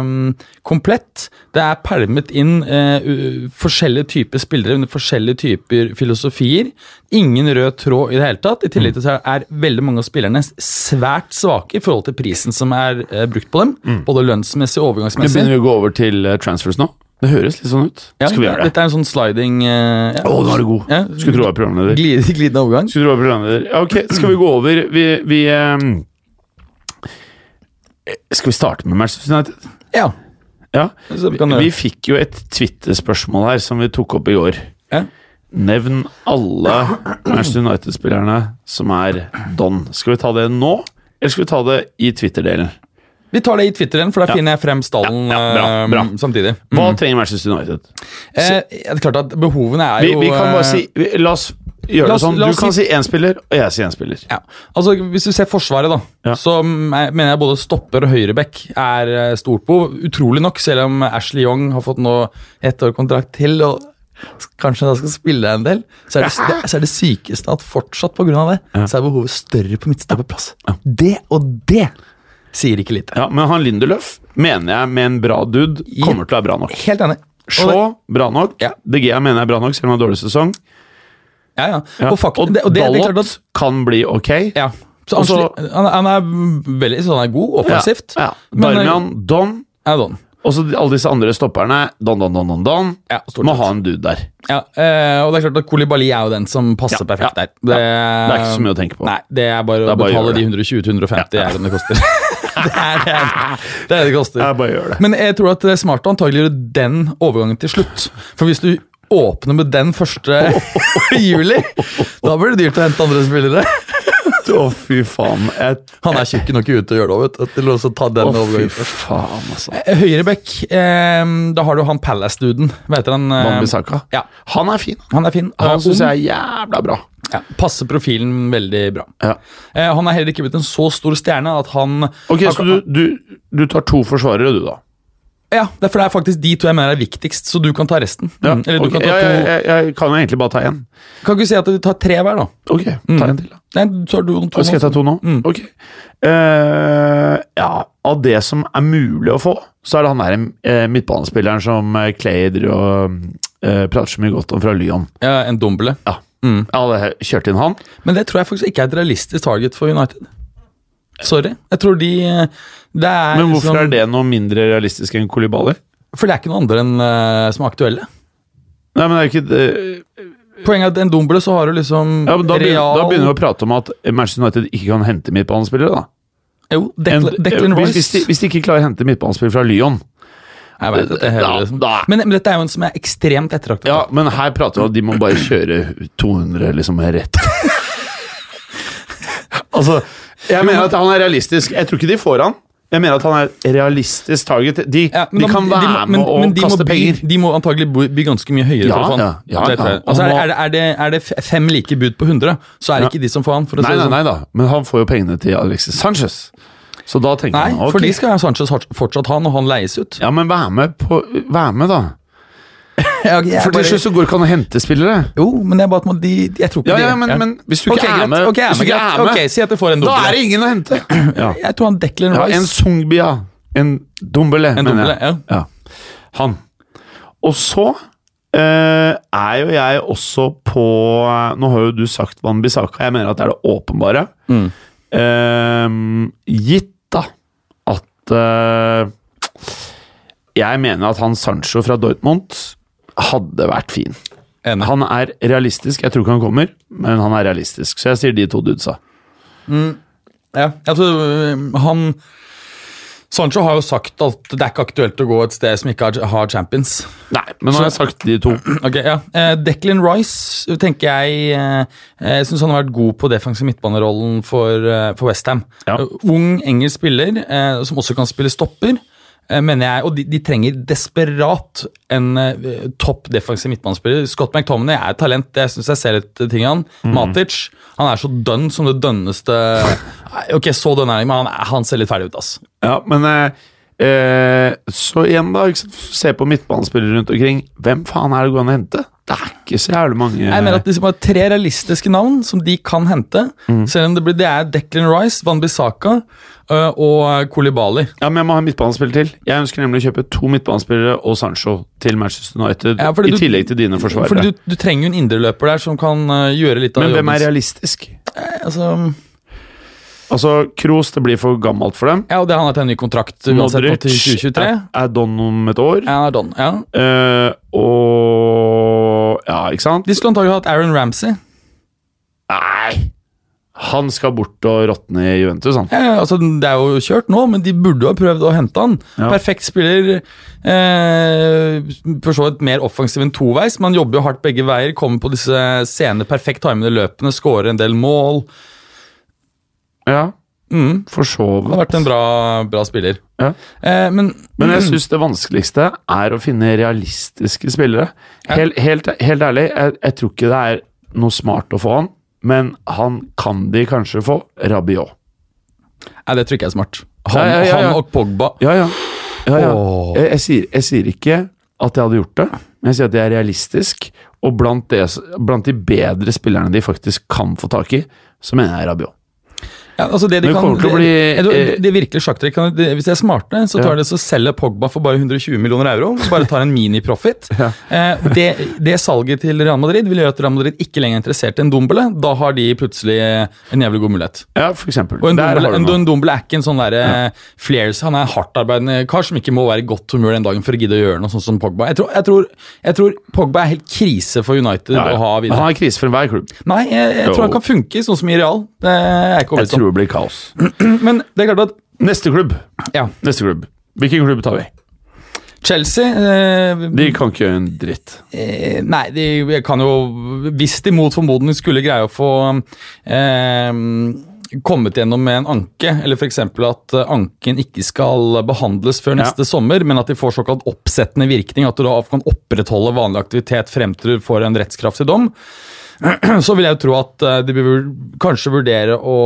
S3: mm, komplett. Det er pælmet inn eh, u- forskjellige typer spillere under forskjellige typer filosofier. Ingen rød tråd i det hele tatt.
S2: Mm.
S3: I tillegg til så er veldig mange av spillerne s- svært svake i forhold til prisen som er eh, brukt på dem. Både lønnsmessig
S2: Mm.
S3: og
S2: Men
S3: overgangsmessig.
S2: begynner vi å gå over til eh, transfers nå? Det høres litt sånn ut.
S3: Ja,
S2: Skal vi gjøre det?
S3: Dette er en sånn sliding eh, ja.
S2: Å, nå er du god!
S3: Ja.
S2: Skulle tro jeg var programleder.
S3: glid, glidende overgang.
S2: Skulle tro jeg var programleder. Ja, ok, skal vi gå over Vi, vi ehm, Skal vi starte med Manchester United?
S3: Ja.
S2: Ja.
S3: Så vi kan gjøre
S2: Vi
S3: det.
S2: fikk jo et Twitter-spørsmål her som vi tok opp i går.
S3: Ja.
S2: Nevn alle Manchester United-spillerne som er don. Skal vi ta det nå, eller skal vi ta det i Twitter-delen?
S3: Vi tar det i Twitteren, for da finner jeg frem stallen
S2: ja, bra,
S3: eh,
S2: bra.
S3: samtidig.
S2: Hva trenger Manchester United?
S3: Eh, det er klart at behovene er
S2: Vi,
S3: jo
S2: vi kan bare
S3: eh,
S2: si vi, La oss gjøre
S3: la
S2: det
S3: oss-
S2: sånn.
S3: la
S2: Du
S3: oss
S2: kan
S3: si-
S2: si én spiller, og jeg sier én spiller.
S3: ja. altså, Hvis du ser Forsvaret, da,
S2: Ja.
S3: så mm, jeg mener jeg både stopper og høyreback er eh, stort behov. Utrolig nok, selv om Ashley Young har fått nå ett år kontrakt til og s- kanskje da skal spille en del, så er det, det, så er det sykeste at fortsatt pga. det, så er behovet større på midtstopperplass. Det og det sier ikke lite.
S2: Ja, men han Lindeløf mener jeg med en bra dude kommer til å være bra nok.
S3: Helt enig. Og det-
S2: Shaw, bra nok.
S3: Ja.
S2: DG mener jeg er bra nok, selv om han har dårlig sesong.
S3: Ja, ja.
S2: Ja.
S3: Og, fakt, det, og det, det er klart at
S2: Dalot kan bli ok.
S3: Ja. Så
S2: Og så-
S3: han, sli- han, han er veldig sånn han er god offensivt.
S2: Ja.
S3: men- eh,
S2: Darmian, Don
S3: Ja, sånn.
S2: Og så alle disse andre stopperne Don, don, don, don, don
S3: Ja, stort
S2: Må
S3: sett.
S2: ha en dude der
S3: Ja, eh, og det er klart at Kolibali er jo den som
S2: Ja,
S3: passer perfekt
S2: ja,
S3: der.
S2: Det
S3: Det,
S2: er ikke så mye å tenke på
S3: Nei, det er
S2: Det
S3: bare å
S2: er bare å
S3: betale
S2: gjøre
S3: de
S2: det.
S3: 120-150 ja. det koster. det, er, det, er, det er det det koster.
S2: Jeg bare gjør det.
S3: Men jeg tror at det er smart å antagelig gjøre den overgangen til slutt. For hvis du åpner med den første juli, da blir det dyrt å hente andre spillere.
S2: Å fy faen Jeg-
S3: Han er tjukk nok ute til å gjøre det òg, vet du. Til å også ta den
S2: Å fy
S3: overgangen.
S2: faen altså
S3: Høyrebekk, eh, da har du han Palace-duden. Hva heter han? eh,
S2: Bambisaka
S3: Ja,
S2: Han er fin
S3: han er fin.
S2: Han
S3: Eh,
S2: synes
S3: ung.
S2: jeg er jævla bra
S3: ja, passer profilen veldig bra.
S2: ja.
S3: Eh, han er heller ikke blitt en så stor stjerne at han
S2: Ok,
S3: han,
S2: så du, du, du tar to forsvarere du da
S3: Ja, det er, for det er faktisk de to jeg mener er viktigst, så du kan ta resten. Mm, Eller du
S2: ok.
S3: kan ta
S2: Ja,
S3: to
S2: jeg, jeg, jeg kan jo egentlig bare ta en
S3: Kan ikke vi si at du tar tre hver, da?
S2: Ok, ta en til da
S3: Nei, du tar du to.
S2: Og Skal jeg ta to nå?
S3: Mm.
S2: Ok Eh, Ja, av det som er mulig å få Så er det han der eh, midtbanespilleren som eh, Clay driver og eh, prater så mye godt om fra Lyon
S3: Ja, en dumble.
S2: Ja.
S3: Mm.
S2: Jeg hadde kjørt inn han.
S3: Men det tror jeg faktisk ikke er et realistisk target for United. Sorry. Jeg tror de eh, Det sånn- er liksom-
S2: Men hvorfor er det noe mindre realistisk enn Kolibali?
S3: For det er ikke noen andre enn eh, som er aktuelle.
S2: Nei, men det er jo ikke det.
S3: Poenget er at en dumble, så har du liksom
S2: Ja, men da, begynner,
S3: Real
S2: da begynner vi å prate om at Manchester United ikke kan hente midtbanespillere. da.
S3: Jo,
S2: En- eh,
S3: Declan, Declan
S2: hvis,
S3: Rice.
S2: hvis, de, hvis de ikke klarer å hente midtbanespillere fra Lyon
S3: jeg vet, at jeg
S2: Da-
S3: hører det liksom- som-
S2: da-
S3: men, men dette er jo en som er ekstremt ettertraktet.
S2: Ja, men her prater vi om at de må bare kjøre 200 liksom rett. altså, jeg mener at han er realistisk. Jeg tror ikke de får han. Jeg mener at han er realistisk target. De,
S3: Ja, men
S2: de
S3: da-
S2: kan
S3: de
S2: være
S3: må- men-
S2: med og
S3: men de må
S2: kaste
S3: by-
S2: penger.
S3: De må antagelig by, by ganske mye høyere.
S2: Ja,
S3: for å få han.
S2: ja, ja,
S3: Det tror jeg.
S2: ja.
S3: Altså, er, er, det- er, det, er det f- fem like bud på 100, så er det
S2: Ja.
S3: ikke de som får han. For å si
S2: Nei,
S3: det
S2: nei,
S3: sånn.
S2: nei da. Men han får jo pengene til Alexis Sanchez. Så da tenker
S3: Nei,
S2: han ok.
S3: for de skal Sanchez hart- fortsatt ha når han leies ut.
S2: Ja, men vær med, på, vær med da. For til
S3: bare-
S2: slutt så går det ikke an å hente spillere.
S3: Jo, men det er bare at man, de, jeg tror ikke
S2: Ja,
S3: de
S2: ja, men, men hvis du ikke
S3: Ok,
S2: er
S3: greit.
S2: med,
S3: Ok, jeg er
S2: hvis du
S3: med,
S2: ikke
S3: greit.
S2: er med
S3: Ok, si at du får en
S2: da
S3: doble.
S2: er det ingen å hente. Ja,
S3: Jeg tror han Declan
S2: ja
S3: Rice
S2: En Sungbia. En Dombele,
S3: En
S2: mener
S3: doble,
S2: jeg. Ja. Han. Og så eh, er jo jeg også på Nå har jo du sagt Van Bissaka, jeg mener at det er det åpenbare. Eh, gitt da at eh, Jeg mener at han Sancho fra Dortmund hadde vært fin.
S3: Enig.
S2: Han er realistisk. Jeg tror ikke han kommer, men han er realistisk. Så jeg sier de to dudesa.
S3: Ja, jeg tror øh, han Sancho har jo sagt at det er ikke aktuelt å gå et sted som ikke har- har champions.
S2: Nei, men nå har jeg sagt de to.
S3: Ok, ja. Eh, Declan Rice tenker jeg eh, Jeg syns han har vært god på defensiv midtbanerollen for, eh, for Westham.
S2: Ja.
S3: Ung engelsk spiller eh, som også kan spille stopper, eh, mener jeg. Og de, de trenger desperat en eh, topp defensiv midtbanespiller. Scott McTominay er et talent, det syns jeg ser litt ting i han. Matic han er så dønn som det dønneste Nei, Ok, så dønn er han, men han, er- han ser litt ferdig ut, ass.
S2: Ja, men eh, eh, Så igjen, da. Ikke sant? Se på midtbanespillere rundt omkring. Hvem faen er det gående å hente? Det er ikke så jævlig mange.
S3: Jeg mener at det er tre realistiske navn som de kan hente.
S2: Mm.
S3: Selv om det, blir, det er Declan Rice, Van Bissaka øh, og Kolibali.
S2: Ja, men Jeg må ha en midtbanespiller til. Jeg ønsker nemlig å kjøpe to midtbanespillere og Sancho til Manchester United.
S3: Ja,
S2: I
S3: fordi du-
S2: tillegg til dine
S3: Fordi
S2: forsvarere.
S3: du, du trenger jo en indreløper der som kan øh, gjøre litt av
S2: Men hvem
S3: jobben
S2: er
S3: sin.
S2: realistisk?
S3: altså,
S2: Altså, Kroos, det blir for gammelt for dem.
S3: Ja, og det han har til en ny kontrakt uansett nå til 2023.
S2: er, er don om et år.
S3: Ja, Don, ja.
S2: Eh, og Ja, ikke sant?
S3: De skulle antagelig hatt Aaron Ramsey.
S2: Nei! Han skal bort og råtne i Juventus, han.
S3: Ja, altså, det er jo kjørt nå, men de burde jo ha prøvd å hente han.
S2: Ja.
S3: Perfekt spiller. Eh, for så vidt mer offensiv enn toveis. Man jobber jo hardt begge veier. Kommer på disse sene, perfekt timede løpene, skårer en del mål.
S2: Ja, for så
S3: Mm. Han har
S2: vidt.
S3: vært en bra, bra spiller.
S2: Ja.
S3: Eh, men
S2: Men jeg syns det vanskeligste er å finne realistiske spillere. Helt, helt, helt ærlig, jeg, jeg tror ikke det er noe smart å få han, men han kan de kanskje få. Rabiot.
S3: Nei, det tror ikke jeg er smart.
S2: Ja,
S3: Han,
S2: ja, ja, ja.
S3: han og Pogba.
S2: Ja, ja. ja, ja.
S3: Åh.
S2: Jeg, jeg, sier, jeg sier ikke at jeg hadde gjort det, men jeg sier at det er realistisk. Og blant, det, blant de bedre spillerne de faktisk kan få tak i, så mener jeg Rabiot.
S3: Ja, altså det de
S2: Men det
S3: kan,
S2: kommer til å
S3: det-
S2: bli,
S3: jeg tror
S2: eh,
S3: det er virkelig sjakktrekk. kan- det- Hvis de er smarte, så tar
S2: Ja.
S3: de så selger Pogba for bare 120 millioner euro. Bare tar en mini-profit. Eh, det, det salget til Real Madrid vil gjøre at Real Madrid ikke lenger er interessert i en Dombele. Da har de plutselig eh, en jævlig god mulighet.
S2: Ja, for eksempel.
S3: Og en
S2: Der
S3: Dombele,
S2: har du
S3: en,
S2: noe.
S3: en Dombele er ikke en sånn derre flares. Han er en hardtarbeidende kar som ikke må være i godt humør den dagen for å gidde å gjøre noe sånn som Pogba. Jeg tror, jeg tror, jeg tror Pogba er helt krise for United
S2: Ja, ja.
S3: å ha
S2: Men
S3: videre.
S2: Han er krise for enhver klubb.
S3: Nei, jeg, jeg tror han kan funke sånn som i Real. Det er jeg
S2: Jeg
S3: ikke overbevist
S2: tror
S3: om.
S2: det blir kaos.
S3: Men det er klart at
S2: Neste klubb.
S3: ja.
S2: Neste klubb. Hvilken klubb tar vi?
S3: Chelsea eh,
S2: De kan ikke gjøre en dritt.
S3: eh, Nei, de kan jo Hvis de mot formodning skulle greie å få eh, kommet gjennom med en anke, eller f.eks. at eh, anken ikke skal behandles før neste sommer, men at de får såkalt oppsettende virkning, at du da kan opprettholde vanlig aktivitet frem til du får en rettskraftig dom, så vil jeg jo tro at eh, de bør kanskje vurdere å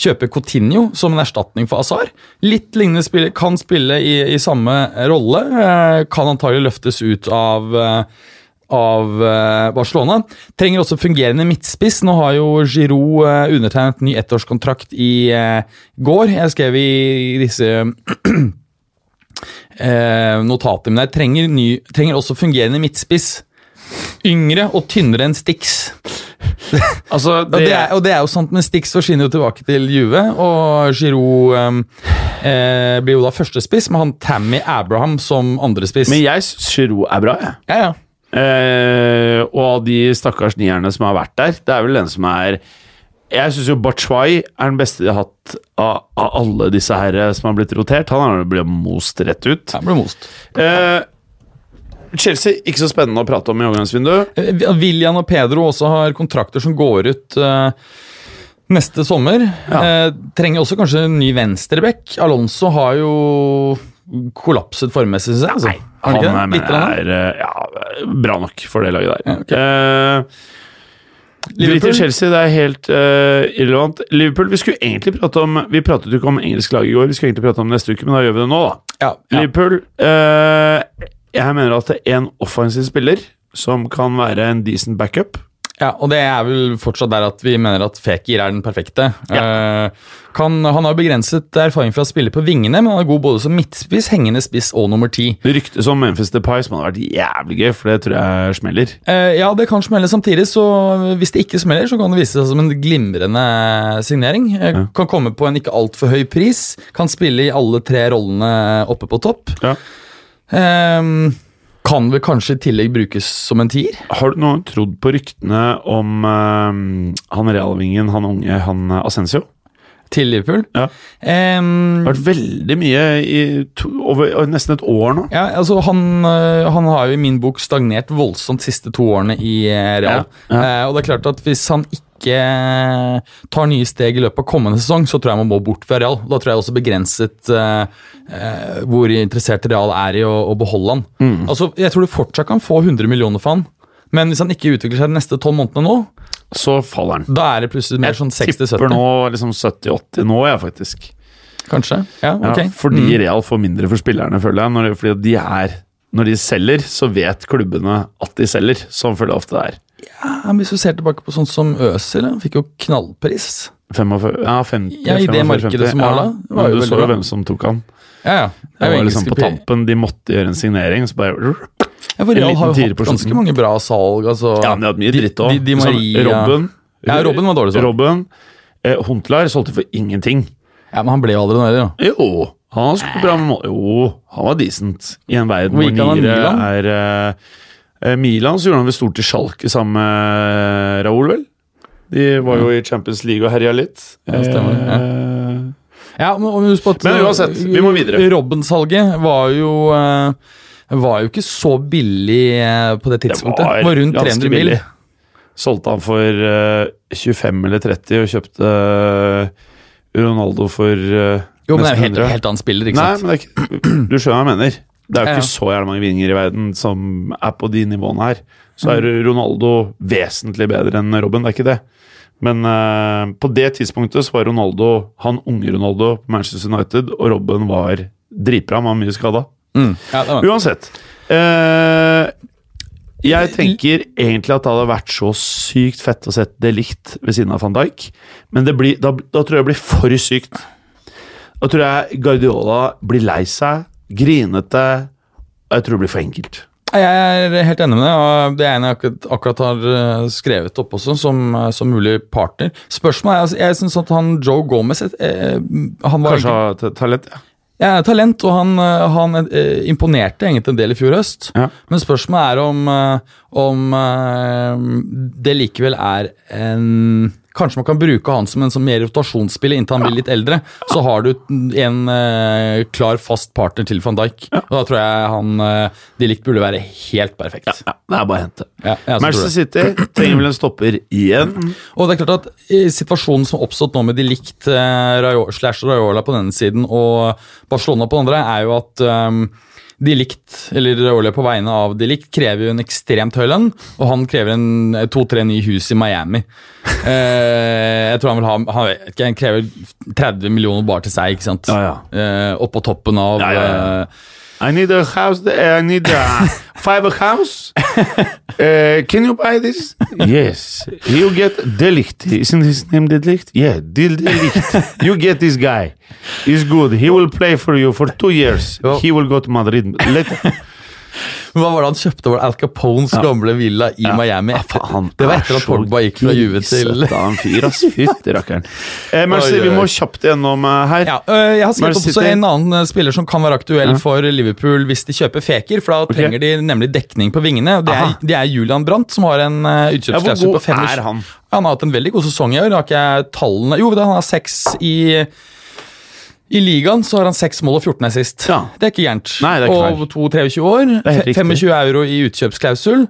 S3: kjøpe Coutinho som en erstatning for Azar. Litt lignende spiller, kan spille i, i samme rolle. eh, Kan antagelig løftes ut av, eh, av eh, Barcelona. Trenger også fungerende midtspiss. Nå har jo Giroud eh, undertegnet ny ettårskontrakt i eh, går. Jeg skrev i disse eh, notater, men jeg trenger, ny, trenger også fungerende midtspiss. Yngre og tynnere enn Stix.
S2: Altså, det,
S3: Og det, er, og det er jo sant, men Stix forsvinner jo tilbake til Juve, og Giroud ehm, eh, blir jo da førstespiss, med han Tammy Abraham som andrespiss.
S2: Men jeg syns Giroud er bra, jeg.
S3: Ja, ja.
S2: Eh, og av de stakkars nierne som har vært der, det er vel den som er Jeg syns jo Bachwai er den beste de har hatt av, av alle disse her eh, som har blitt rotert. Han har jo blitt most rett ut.
S3: Han ble most.
S2: Eh, Chelsea, ikke så spennende å prate om i overgangsvinduet.
S3: Eh, William og Pedro også har kontrakter som går ut eh, neste sommer.
S2: Ja.
S3: Eh, trenger også kanskje en ny venstreback. Alonso har jo kollapset formmessig, syns jeg. Altså. Har
S2: Han er,
S3: ikke det?
S2: men
S3: Litt eller annet?
S2: er eh, ja, bra nok for det laget der. Eh, Drit i
S3: Liverpool?
S2: Chelsea, det er helt eh, irrelevant. Liverpool, vi skulle egentlig prate om Vi pratet jo ikke om engelsk lag i går, vi skulle egentlig prate om det neste uke, men da gjør vi det nå, da.
S3: Ja, ja.
S2: Liverpool eh, Jeg mener at det er en offensiv spiller som kan være en decent backup.
S3: Ja, og det er vel fortsatt der at vi mener at Fekir er den perfekte. Eh, kan, han har begrenset erfaring fra å spille på vingene, men han er god både som midtspiss, hengende spiss og nummer ti.
S2: Det ryktes om Memphis Depay, som hadde vært jævlig gøy, for det tror jeg smeller.
S3: Eh, ja, det kan smelle samtidig, så hvis det ikke smeller, så kan det vise seg som en glimrende signering. Eh, Kan komme på en ikke altfor høy pris, kan spille i alle tre rollene oppe på topp.
S2: Ja.
S3: Eh, kan vel kanskje i tillegg brukes som en tier?
S2: Har du noen trodd på ryktene om eh, han realvingen, han unge, han eh, Asensio?
S3: Til Liverpool?
S2: Ja.
S3: Eh,
S2: Det har vært veldig mye i to, over over nesten et år nå.
S3: Ja, altså han, øh, han har jo i min bok stagnert voldsomt siste to årene i eh, Real.
S2: Ja,
S3: Eh, og det er klart at hvis han ikke eh, tar nye steg i løpet av kommende sesong, så tror jeg man må bort fra Real. Da tror jeg også begrenset eh, eh, hvor interessert Real er i å, å beholde han.
S2: Mm.
S3: Altså, Jeg tror du fortsatt kan få 100 millioner for han. Men hvis han ikke utvikler seg de neste tolv månedene nå,
S2: Så faller han.
S3: da er det plutselig mer sånn
S2: Tipper
S3: 60-70.
S2: nå liksom 70-80 nå, ja, faktisk.
S3: Kanskje. Ja,
S2: Ja,
S3: ok. Mm.
S2: Fordi Real får mindre for spillerne, føler jeg. Når, fordi de er, når de selger, så vet klubbene at de selger. Sånn føler jeg ofte det er.
S3: Ja, men hvis du ser tilbake på sånn som Øzil, han fikk jo knallpris.
S2: 45, ja, 50,
S3: Ja, i det
S2: 45,
S3: markedet
S2: 50.
S3: som var da,
S2: Ja,
S3: det var
S2: men
S3: jo
S2: du
S3: veldig
S2: så jo
S3: bra.
S2: hvem som tok han.
S3: Ja, ja.
S2: Det
S3: er jo
S2: var liksom
S3: engelske
S2: på
S3: pri-
S2: tampen. De måtte gjøre en signering, så bare
S3: Ja, for
S2: En
S3: Real
S2: liten
S3: har jo
S2: tier
S3: hatt
S2: på slutten.
S3: ganske mange bra salg. Altså.
S2: Ja, men de hadde mye dritt
S3: Di-
S2: òg.
S3: Di Maria.
S2: Robben.
S3: Ja, Robben var dårlig sånn.
S2: Robben. Eh, Huntelaar solgte for ingenting.
S3: Ja, men han ble jo aldri noe heller, da.
S2: Jo, han skulle bra med mål. Jo, han var decent. I en verden
S3: Hvor gikk
S2: hvor
S3: han av
S2: niere
S3: Milan?
S2: er eh, eh, Milan så gjorde han vel stort i Schalke sammen med Raoul, vel? De var jo i Champions League og herja litt.
S3: Ja, stemmer det, ja.
S2: Eh,
S3: Ja, men, og husk på at- eh,
S2: Men uansett, vi må videre.
S3: Robben-salget var jo eh, var jo ikke så billig eh, på det
S2: det
S3: tidspunktet. Det var, rundt
S2: ganske
S3: 300 mil.
S2: billig. Solgte han for eh, 25 eller 30 og kjøpte eh, Ronaldo for eh,
S3: Jo, men det er
S2: nesten
S3: jo helt,
S2: 100.
S3: helt annen spiller, ikke
S2: Nei,
S3: sant?
S2: men det er ikke, du skjønner hva jeg mener. Det er jo
S3: Ja, ja.
S2: ikke så jævlig mange vinninger i verden som er på de nivåene her. Så er
S3: Mm.
S2: Ronaldo vesentlig bedre enn Robben, det er ikke det. Men eh, på det tidspunktet så var Ronaldo han unge Ronaldo på Manchester United, og Robben var dritbra, han var mye skada.
S3: Mm. Ja, det var.
S2: Uansett. eh, jeg tenker egentlig at det hadde vært så sykt fett å sette det likt ved siden av van Dijk, men det blir, da, da tror jeg det blir for sykt. Da tror jeg Guardiola blir lei seg, grinete, og jeg tror det blir for enkelt.
S3: Jeg er helt enig med deg, og det er en jeg akkurat, akkurat har eh, skrevet opp også, som, eh, som mulig partner. Spørsmålet er altså, Jeg syns at han Joe Gomez eh, han var
S2: Kanskje ha ta- talent, ja.
S3: Ja, talent, og han, eh, han eh, imponerte egentlig en del i fjor høst.
S2: Ja.
S3: Men spørsmålet er om, eh, om eh, det likevel er en Kanskje man kan bruke han som en sånn mer rotasjonsspiller inntil han blir litt eldre. Så har du en eh, klar, fast partner til van Dijk. Og da tror jeg han eh, de likt burde være helt perfekt.
S2: ja. Det er bare å hente.
S3: Ja, jeg også tror
S2: Manchester
S3: det.
S2: City trenger vel en stopper igjen.
S3: Og det er klart at eh, situasjonen som har oppstått nå med de likt eh, Rajo- slash Raiola på denne siden og Barcelona på den andre, er jo at ehm, de likt, eller Raiola på vegne av de likt, krever jo en ekstremt høy lønn, og han krever en eh, to-tre nye hus i Miami. Eh, jeg tror han vil ha han, vet ikke, han krever 30 millioner bare til seg, ikke sant?
S2: Ja, ja.
S3: Eh, oppå toppen av
S2: Ja, ja, ja.
S3: eh,
S2: I need a house. there. I need a five house. Uh, can you buy this? Yes. You get Delict. Isn't his name Delict? Yeah, Del Delict. You get this guy. He's good. He will play for you for two years.
S3: Well-
S2: He will go to Madrid. Let
S3: Hva var det han kjøpte? Var det Al Capones gamle villa i Miami? det var etter at Pogba gikk fra Juve til
S2: Ah, Han fyr, ass. Fytti rakkeren. Eh, Mercy,
S3: Oi, oi,
S2: vi
S3: oi.
S2: må kjapt gjennom eh, her.
S3: Ja, øh, jeg har skrevet
S2: Manchester
S3: opp også
S2: City.
S3: en annen øh, spiller som kan være aktuell for Liverpool hvis de kjøper Feker, for da trenger de nemlig dekning på vingene. og Det er,
S2: Aha.
S3: det er Julian Brandt som har en uh,
S2: Ja, hvor
S3: utkjøpsklausul
S2: god
S3: på fem
S2: er han?
S3: Han har hatt en veldig god sesong i år. Har ikke jeg tallene Jo, da, han har seks i I ligaen så har han seks mål og 14 er sist.
S2: Ja.
S3: Det er ikke gærent.
S2: Nei, det er ikke feil.
S3: og 2-23 år.
S2: er helt
S3: fe- 25 euro i utkjøpsklausul.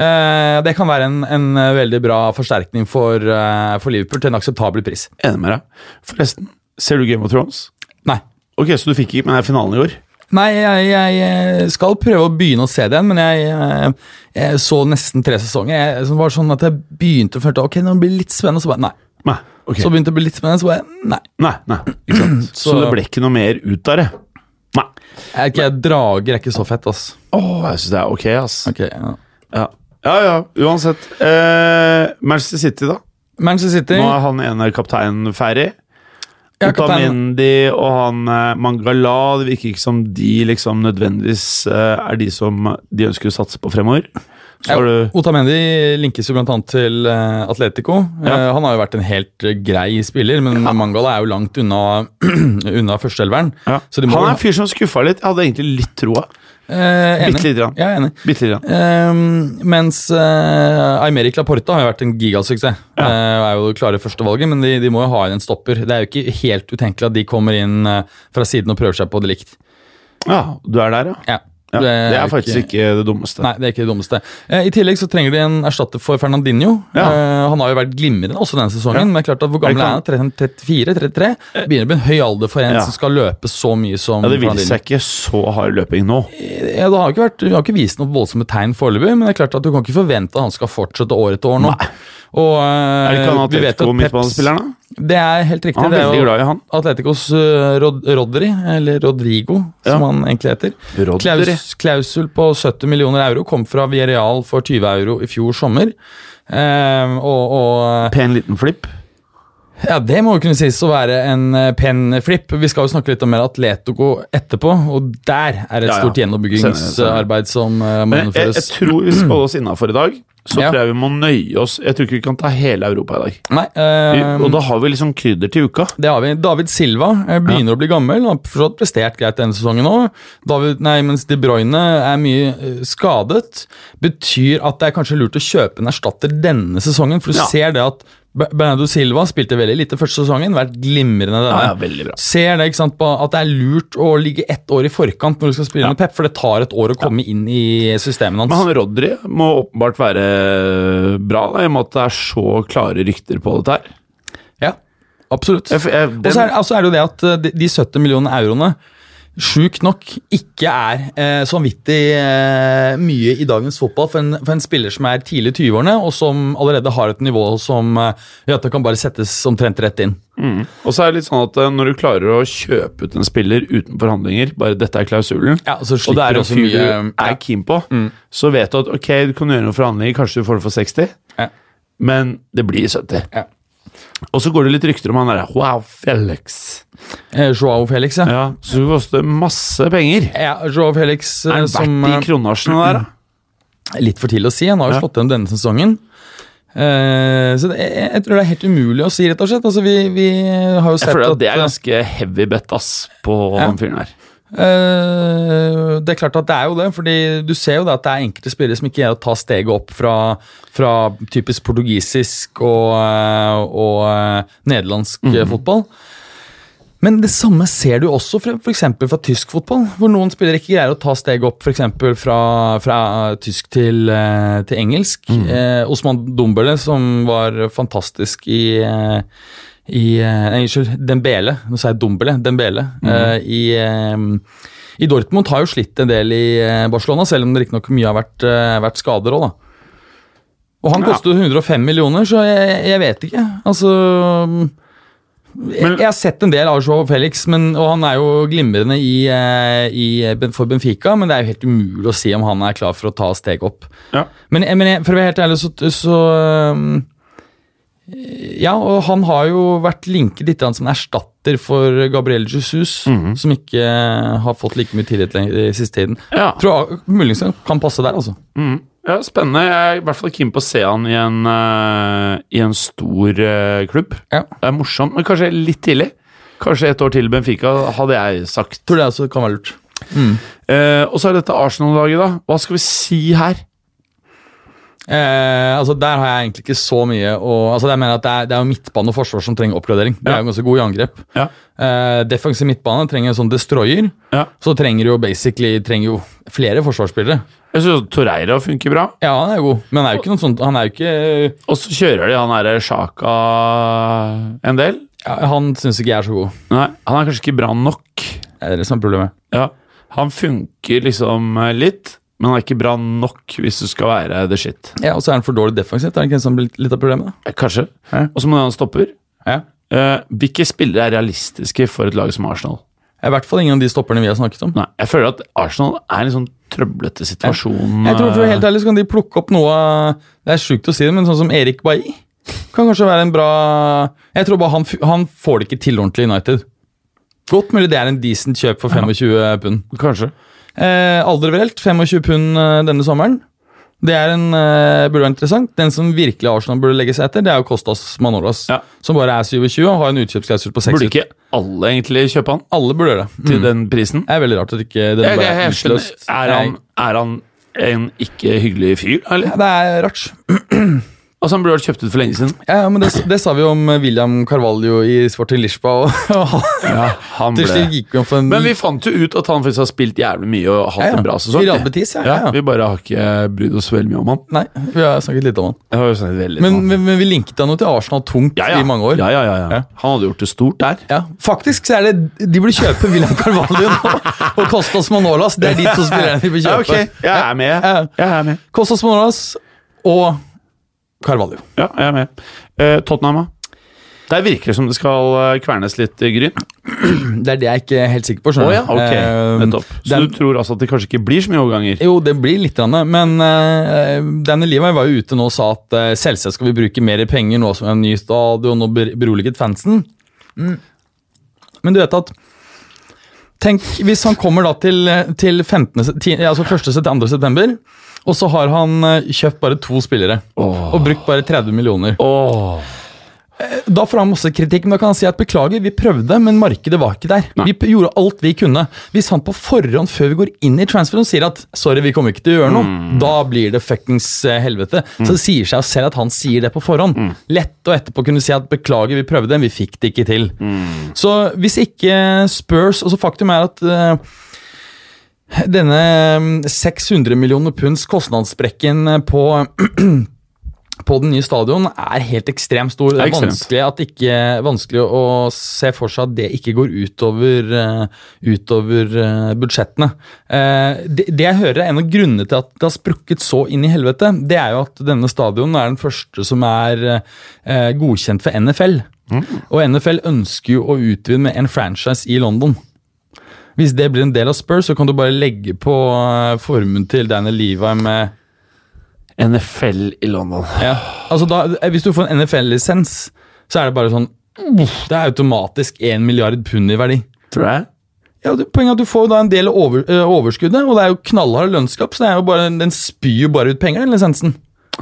S3: Eh, det kan være en, en øh, veldig bra forsterkning for, eh, for Liverpool til en akseptabel pris.
S2: Enig med deg. Forresten, ser du Game of Thrones?
S3: Nei.
S2: Ok, så du fikk ikke med deg finalen i år?
S3: Nei, jeg, jeg eh, skal prøve å begynne å se det igjen, men jeg, eh, jeg så nesten tre sesonger. Jeg det var sånn at jeg begynte å føle at ok, nå blir det litt spennende, så bare nei.
S2: Nei. ok.
S3: Så begynte det å bli litt spennende, så bare nei.
S2: nei, nei. Ikke sant. så,
S3: Så-
S2: det ble ikke noe mer ut av det? Nei.
S3: Jeg, er ikke- jeg drager er ikke så fett, ass.
S2: Åh, jeg syns det er ok, ass.
S3: Ok, ja.
S2: Ja. ja, ja, uansett. Eh, Manchester City, da.
S3: Manchester City.
S2: Nå er han ene kapteinen ferdig.
S3: Ja, kaptein.
S2: Utamendi og han eh, Mangala Det virker ikke som de liksom nødvendigvis eh, er de som de ønsker å satse på fremover. Så har du
S3: Otamendi linkes jo bl.a. til eh, Atletico. Eh, han har jo vært en helt eh, grei spiller, men Mangala er jo langt unna, unna førsteelveren.
S2: ja.
S3: Så de må
S2: Han er en fyr som skuffa litt. Jeg hadde egentlig litt troa.
S3: Eh,
S2: Bitte
S3: enig.
S2: lite grann.
S3: Jeg er enig.
S2: Bitte lite grann.
S3: Ehm, mens uh, Aymeric Laporta har jo vært en gigasuksess. Ja. er jo det klare førstevalget, men de, de må jo ha inn en stopper. Det er jo ikke helt utenkelig at de kommer inn eh, fra siden og prøver seg på det likt.
S2: Ja, du er der, ja.
S3: Ja.
S2: ja. Det er,
S3: jo
S2: faktisk ikke, det dummeste.
S3: Nei, det er ikke det dummeste. Eh, I tillegg så trenger de en erstatter for Fernandinho.
S2: Ja.
S3: Eh, han har jo vært glimrende også denne sesongen,
S2: Ja.
S3: men klart at hvor gammel er
S2: Er Eh.
S3: han? 34-33? Begynner å bli en høy alder for en
S2: Ja.
S3: som skal løpe så mye som
S2: Ja, det vil
S3: Fernandinho.
S2: seg ikke så hard løping nå.
S3: Ja, det har ikke vært, du har ikke vist noen voldsomme tegn foreløpig, men det er klart at du kan ikke forvente at han skal fortsette år etter år nå. Og, eh,
S2: Er det ikke han
S3: vi vet at
S2: Atletico
S3: Peps-
S2: midtbanespilleren, da?
S3: Det er helt riktig.
S2: Han
S3: det
S2: er
S3: er
S2: veldig
S3: jo
S2: glad i han.
S3: Atleticos eh, Rod Rodri, eller Rodrigo, som
S2: Ja.
S3: han egentlig heter.
S2: Rodri.
S3: Klaus, klausul på 70 millioner euro kom fra Villarreal for 20 euro i fjor sommer. Eh, og, og
S2: Pen liten flipp.
S3: ja, det må jo kunne sies å være en eh, pen flip. Vi skal jo snakke litt om mer Atletico etterpå, og der er det
S2: Ja,
S3: et
S2: ja.
S3: stort
S2: Senere,
S3: gjenoppbyggingsarbeid som eh, må
S2: Men jeg, jeg
S3: gjennomføres.
S2: tror vi skal holde oss innafor i dag. Så
S3: Ja.
S2: tror jeg vi må nøye oss. Jeg tror ikke vi kan ta hele Europa i dag.
S3: Nei,
S2: Vi,
S3: eh,
S2: og da har vi liksom krydder til uka.
S3: det har vi. David Silva eh, begynner å bli gammel. Han har forstått prestert greit denne sesongen òg. Nei, mens De Bruyne er mye eh, skadet, betyr at det er kanskje lurt å kjøpe en erstatter denne sesongen. For du
S2: Ja.
S3: ser det at Be- Bernardo Silva spilte veldig lite første sesongen, vært glimrende denne.
S2: Ja, ja, veldig bra.
S3: Ser det ikke sant, på at det er lurt å ligge ett år i forkant når du skal spille med Pep, for det tar et år å komme inn i systemet hans.
S2: Men han Rodri må åpenbart være bra, da, i og med at det er så klare rykter på dette her.
S3: Ja, absolutt.
S2: Jeg f- jeg-
S3: Og så er, altså er det jo det at eh, de, de 70 millionene euroene Sjukt nok ikke er eh, så vanvittig eh, mye i dagens fotball for en, for en spiller som er tidlig i 20-årene, og som allerede har et nivå som eh, gjør at det kan bare settes omtrent rett inn.
S2: Og så er det litt sånn at eh, når du klarer å kjøpe ut en spiller uten forhandlinger, bare dette er klausulen,
S3: Ja, og så
S2: og det
S3: slipper
S2: er
S3: du
S2: en
S3: også
S2: fyr du
S3: mye- ja. Mm.
S2: er keen på, så vet du at ok, du kan gjøre noen forhandlinger, kanskje du får det for 60,
S3: Ja.
S2: men det blir 70.
S3: Ja.
S2: Og så går det litt rykter om han der Wow, Felix.
S3: Eh, Joao Felix, ja.
S2: Ja, så det koster masse penger.
S3: ja Joao Felix eh,
S2: Er han
S3: som
S2: verdt de kronasjene der, da?
S3: eh, Litt for tidlig å si. Han har jo
S2: Ja.
S3: slått igjen denne sesongen. Eh, så det, jeg, jeg tror det er helt umulig å si, rett og slett. Altså, vi, vi har jo sett
S2: Jeg føler at det
S3: eh,
S2: er ganske heavy bet, ass, på
S3: Ja.
S2: den fyren her.
S3: Eh, det er klart at det er jo det, fordi du ser jo det at det er enkelte spillere som ikke greier å ta steget opp fra, fra typisk portugisisk og, eh, og eh, nederlandsk eh, fotball. Men det samme ser du også fra, for eksempel fra tysk fotball, hvor noen spillere ikke greier å ta steget opp for eksempel fra, fra tysk til, eh, til engelsk. Eh, Osman Dombele, som var fantastisk i, eh, i eh, nei, Unnskyld, Dembele. Nå sa jeg Dombele. Dembele. eh, i, eh, I Dortmund har jo slitt en del i eh, Barcelona, selv om det riktignok mye har vært, eh, vært skader òg, da. Og han
S2: Ja.
S3: koster jo 105 millioner, så jeg, jeg vet ikke. Altså jeg, jeg har sett en del av Joao Felix, men, og han er jo glimrende i, eh, i, Ben- for Benfica, men det er jo helt umulig å si om han er klar for å ta steg opp.
S2: Ja.
S3: Men, jeg- men jeg, for å være helt ærlig, så, så um, Ja, og han har jo vært linket litt grann som en erstatter for Gabriel Jesus, som ikke har fått like mye tillit lenger i siste tiden.
S2: Ja.
S3: Tror jeg muligens han kan passe der, altså.
S2: Ja, spennende. Jeg er i hvert fall keen på å se han i en, eh, i en stor eh, klubb.
S3: Ja.
S2: Det er morsomt, men kanskje litt tidlig. Kanskje et år til Benfica, hadde jeg sagt.
S3: Tror det også kan være lurt.
S2: Eh, og så er dette Arsenal-laget, da. Hva skal vi si her?
S3: Eh, altså Der har jeg egentlig ikke så mye å altså jeg mener at Det er, det er jo midtbane og forsvar som trenger oppgradering. De
S2: Ja.
S3: er jo ganske gode i angrep.
S2: Ja.
S3: Eh, defensiv midtbane trenger en sånn destroyer.
S2: Ja.
S3: Så trenger du jo basically trenger jo flere forsvarsspillere.
S2: Jeg syns Torreira funker bra.
S3: Ja, han er jo god, men han er jo ikke noe sånt Han er jo ikke
S2: Og så kjører de han derre Sjaka en del.
S3: ja, Han syns ikke jeg er så god.
S2: Nei, han er kanskje ikke bra nok.
S3: Det er det som er problemet.
S2: Ja, Han funker liksom eh, litt, men han er ikke bra nok hvis du skal være the shit.
S3: Ja, Og så er han for dårlig defensivt. Er det ikke det som blir litt av problemet?
S2: Eh, Kanskje.
S3: Ja.
S2: Og så må du ha en stopper.
S3: da? Ja.
S2: Eh, hvilke spillere er realistiske for et lag som Arsenal?
S3: I hvert fall ingen av de stopperne vi har snakket om.
S2: Nei, Jeg føler at Arsenal er i en sånn trøblete situasjon.
S3: Jeg tror for å være
S2: eh,
S3: helt ærlig så kan de plukke opp noe av- Det er sjukt å si det, men sånn som Erik Bailly kan kanskje være en bra Jeg tror bare han, f- han får det ikke til ordentlig i United. Godt mulig det er en decent kjøp for 25 pund.
S2: Kanskje.
S3: Eh, Alderverelt, 25 pund eh, denne sommeren. Det er en, eh, burde være interessant. Den som virkelig Arsenal burde legge seg etter, det er jo Kostas Manolas.
S2: Ja.
S3: Som bare er 27 og har en utkjøpsklausul på 6
S2: Burde ikke alle egentlig kjøpe han
S3: Alle burde gjøre det.
S2: til den prisen?
S3: Det er veldig rart at ikke det
S2: Jeg,
S3: ble
S2: jeg, jeg skjønner.
S3: utløst.
S2: Er han,
S3: Nei.
S2: er han en ikke hyggelig fyr, eller?
S3: Det er rart.
S2: Altså, han burde vært kjøpt ut for lenge siden.
S3: Ja, ja, men det, det sa vi om eh, William Carvalho i Sporting Lisboa. Og, og han-
S2: han
S3: til slutt
S2: ble...
S3: gikk vi opp for en
S2: Men vi fant jo ut at han faktisk har spilt jævlig mye og hatt
S3: Ja, ja.
S2: en bra sesong.
S3: I Real Betis, ja, ja, ja.
S2: Vi bare har ikke brydd oss veldig mye om han.
S3: Nei, vi har snakket litt om han.
S2: Jeg har jo snakket veldig
S3: Men,
S2: om han.
S3: men, men vi linket han jo til Arsenal tungt
S2: ja, ja.
S3: i mange år.
S2: Ja, ja, ja, ja.
S3: Ja.
S2: Han hadde gjort det stort der.
S3: Ja, Faktisk så er det de burde kjøpe William Carvalho nå, og Kostas Manolas. Det er de to spillerne de bør kjøpe.
S2: Jeg er med.
S3: Ja.
S2: Jeg er med.
S3: Kostas Manolas og Carvalho.
S2: Ja, jeg er med. Eh, Tottenham, da? Der virker det som det skal eh, kvernes litt eh, gryn.
S3: Det er det jeg ikke er helt sikker på.
S2: Å
S3: skjønner
S2: ja,
S3: du.
S2: ok.
S3: Eh,
S2: Nettopp. Så
S3: Dan-
S2: du tror altså at det kanskje ikke blir så mye overganger?
S3: Jo, det blir litt, grann, men uh, Daniel Levi var jo ute nå og sa at eh, selvsagt skal vi bruke mer penger nå som er en ny stadion og ber- beroliget fansen. Men du vet at Tenk hvis han kommer da til, til 15, se- ti- altså 1. til 2. september, og så har han eh, kjøpt bare to spillere og brukt bare 30 millioner.
S2: Åh.
S3: Da får han masse kritikk, men da kan han si at beklager, vi prøvde, men markedet var ikke der. Vi p- gjorde alt vi kunne. Hvis han på forhånd, før vi går inn i transferen, sier at sorry, vi kommer ikke til å gjøre noe, da blir det fuckings eh, helvete. Så det sier seg selv at han sier det på forhånd. Lett å etterpå kunne si at beklager, vi prøvde, vi fikk det ikke til. Så hvis ikke Spurs altså Faktum er at eh, denne eh, 600 millioner punds kostnadssprekken eh, på på den nye stadion er helt ekstremt stor. Det
S2: Det er
S3: er
S2: ekstremt.
S3: vanskelig, at ikke, vanskelig å se for seg at det ikke går utover, eh, utover eh, budsjettene. Eh, det, det jeg hører er en av grunnene til at det har sprukket så inn i helvete, det er jo at denne stadion er den første som er eh, godkjent for NFL. Og NFL ønsker jo å utvide med en franchise i London. Hvis det blir en del av Spurs, så kan du bare legge på eh, formuen til Daniel Levi med
S2: NFL i London.
S3: ja. Altså da, eh, hvis du får en NFL-lisens, så er det bare sånn uff, Det er automatisk 1 milliard pund i verdi.
S2: Tror jeg.
S3: Ja, det, Poenget er at du får jo da en del av over, eh, overskuddet, og det er jo knallhard lønnsskatt, så det er jo bare, den spyr jo bare ut penger, den lisensen.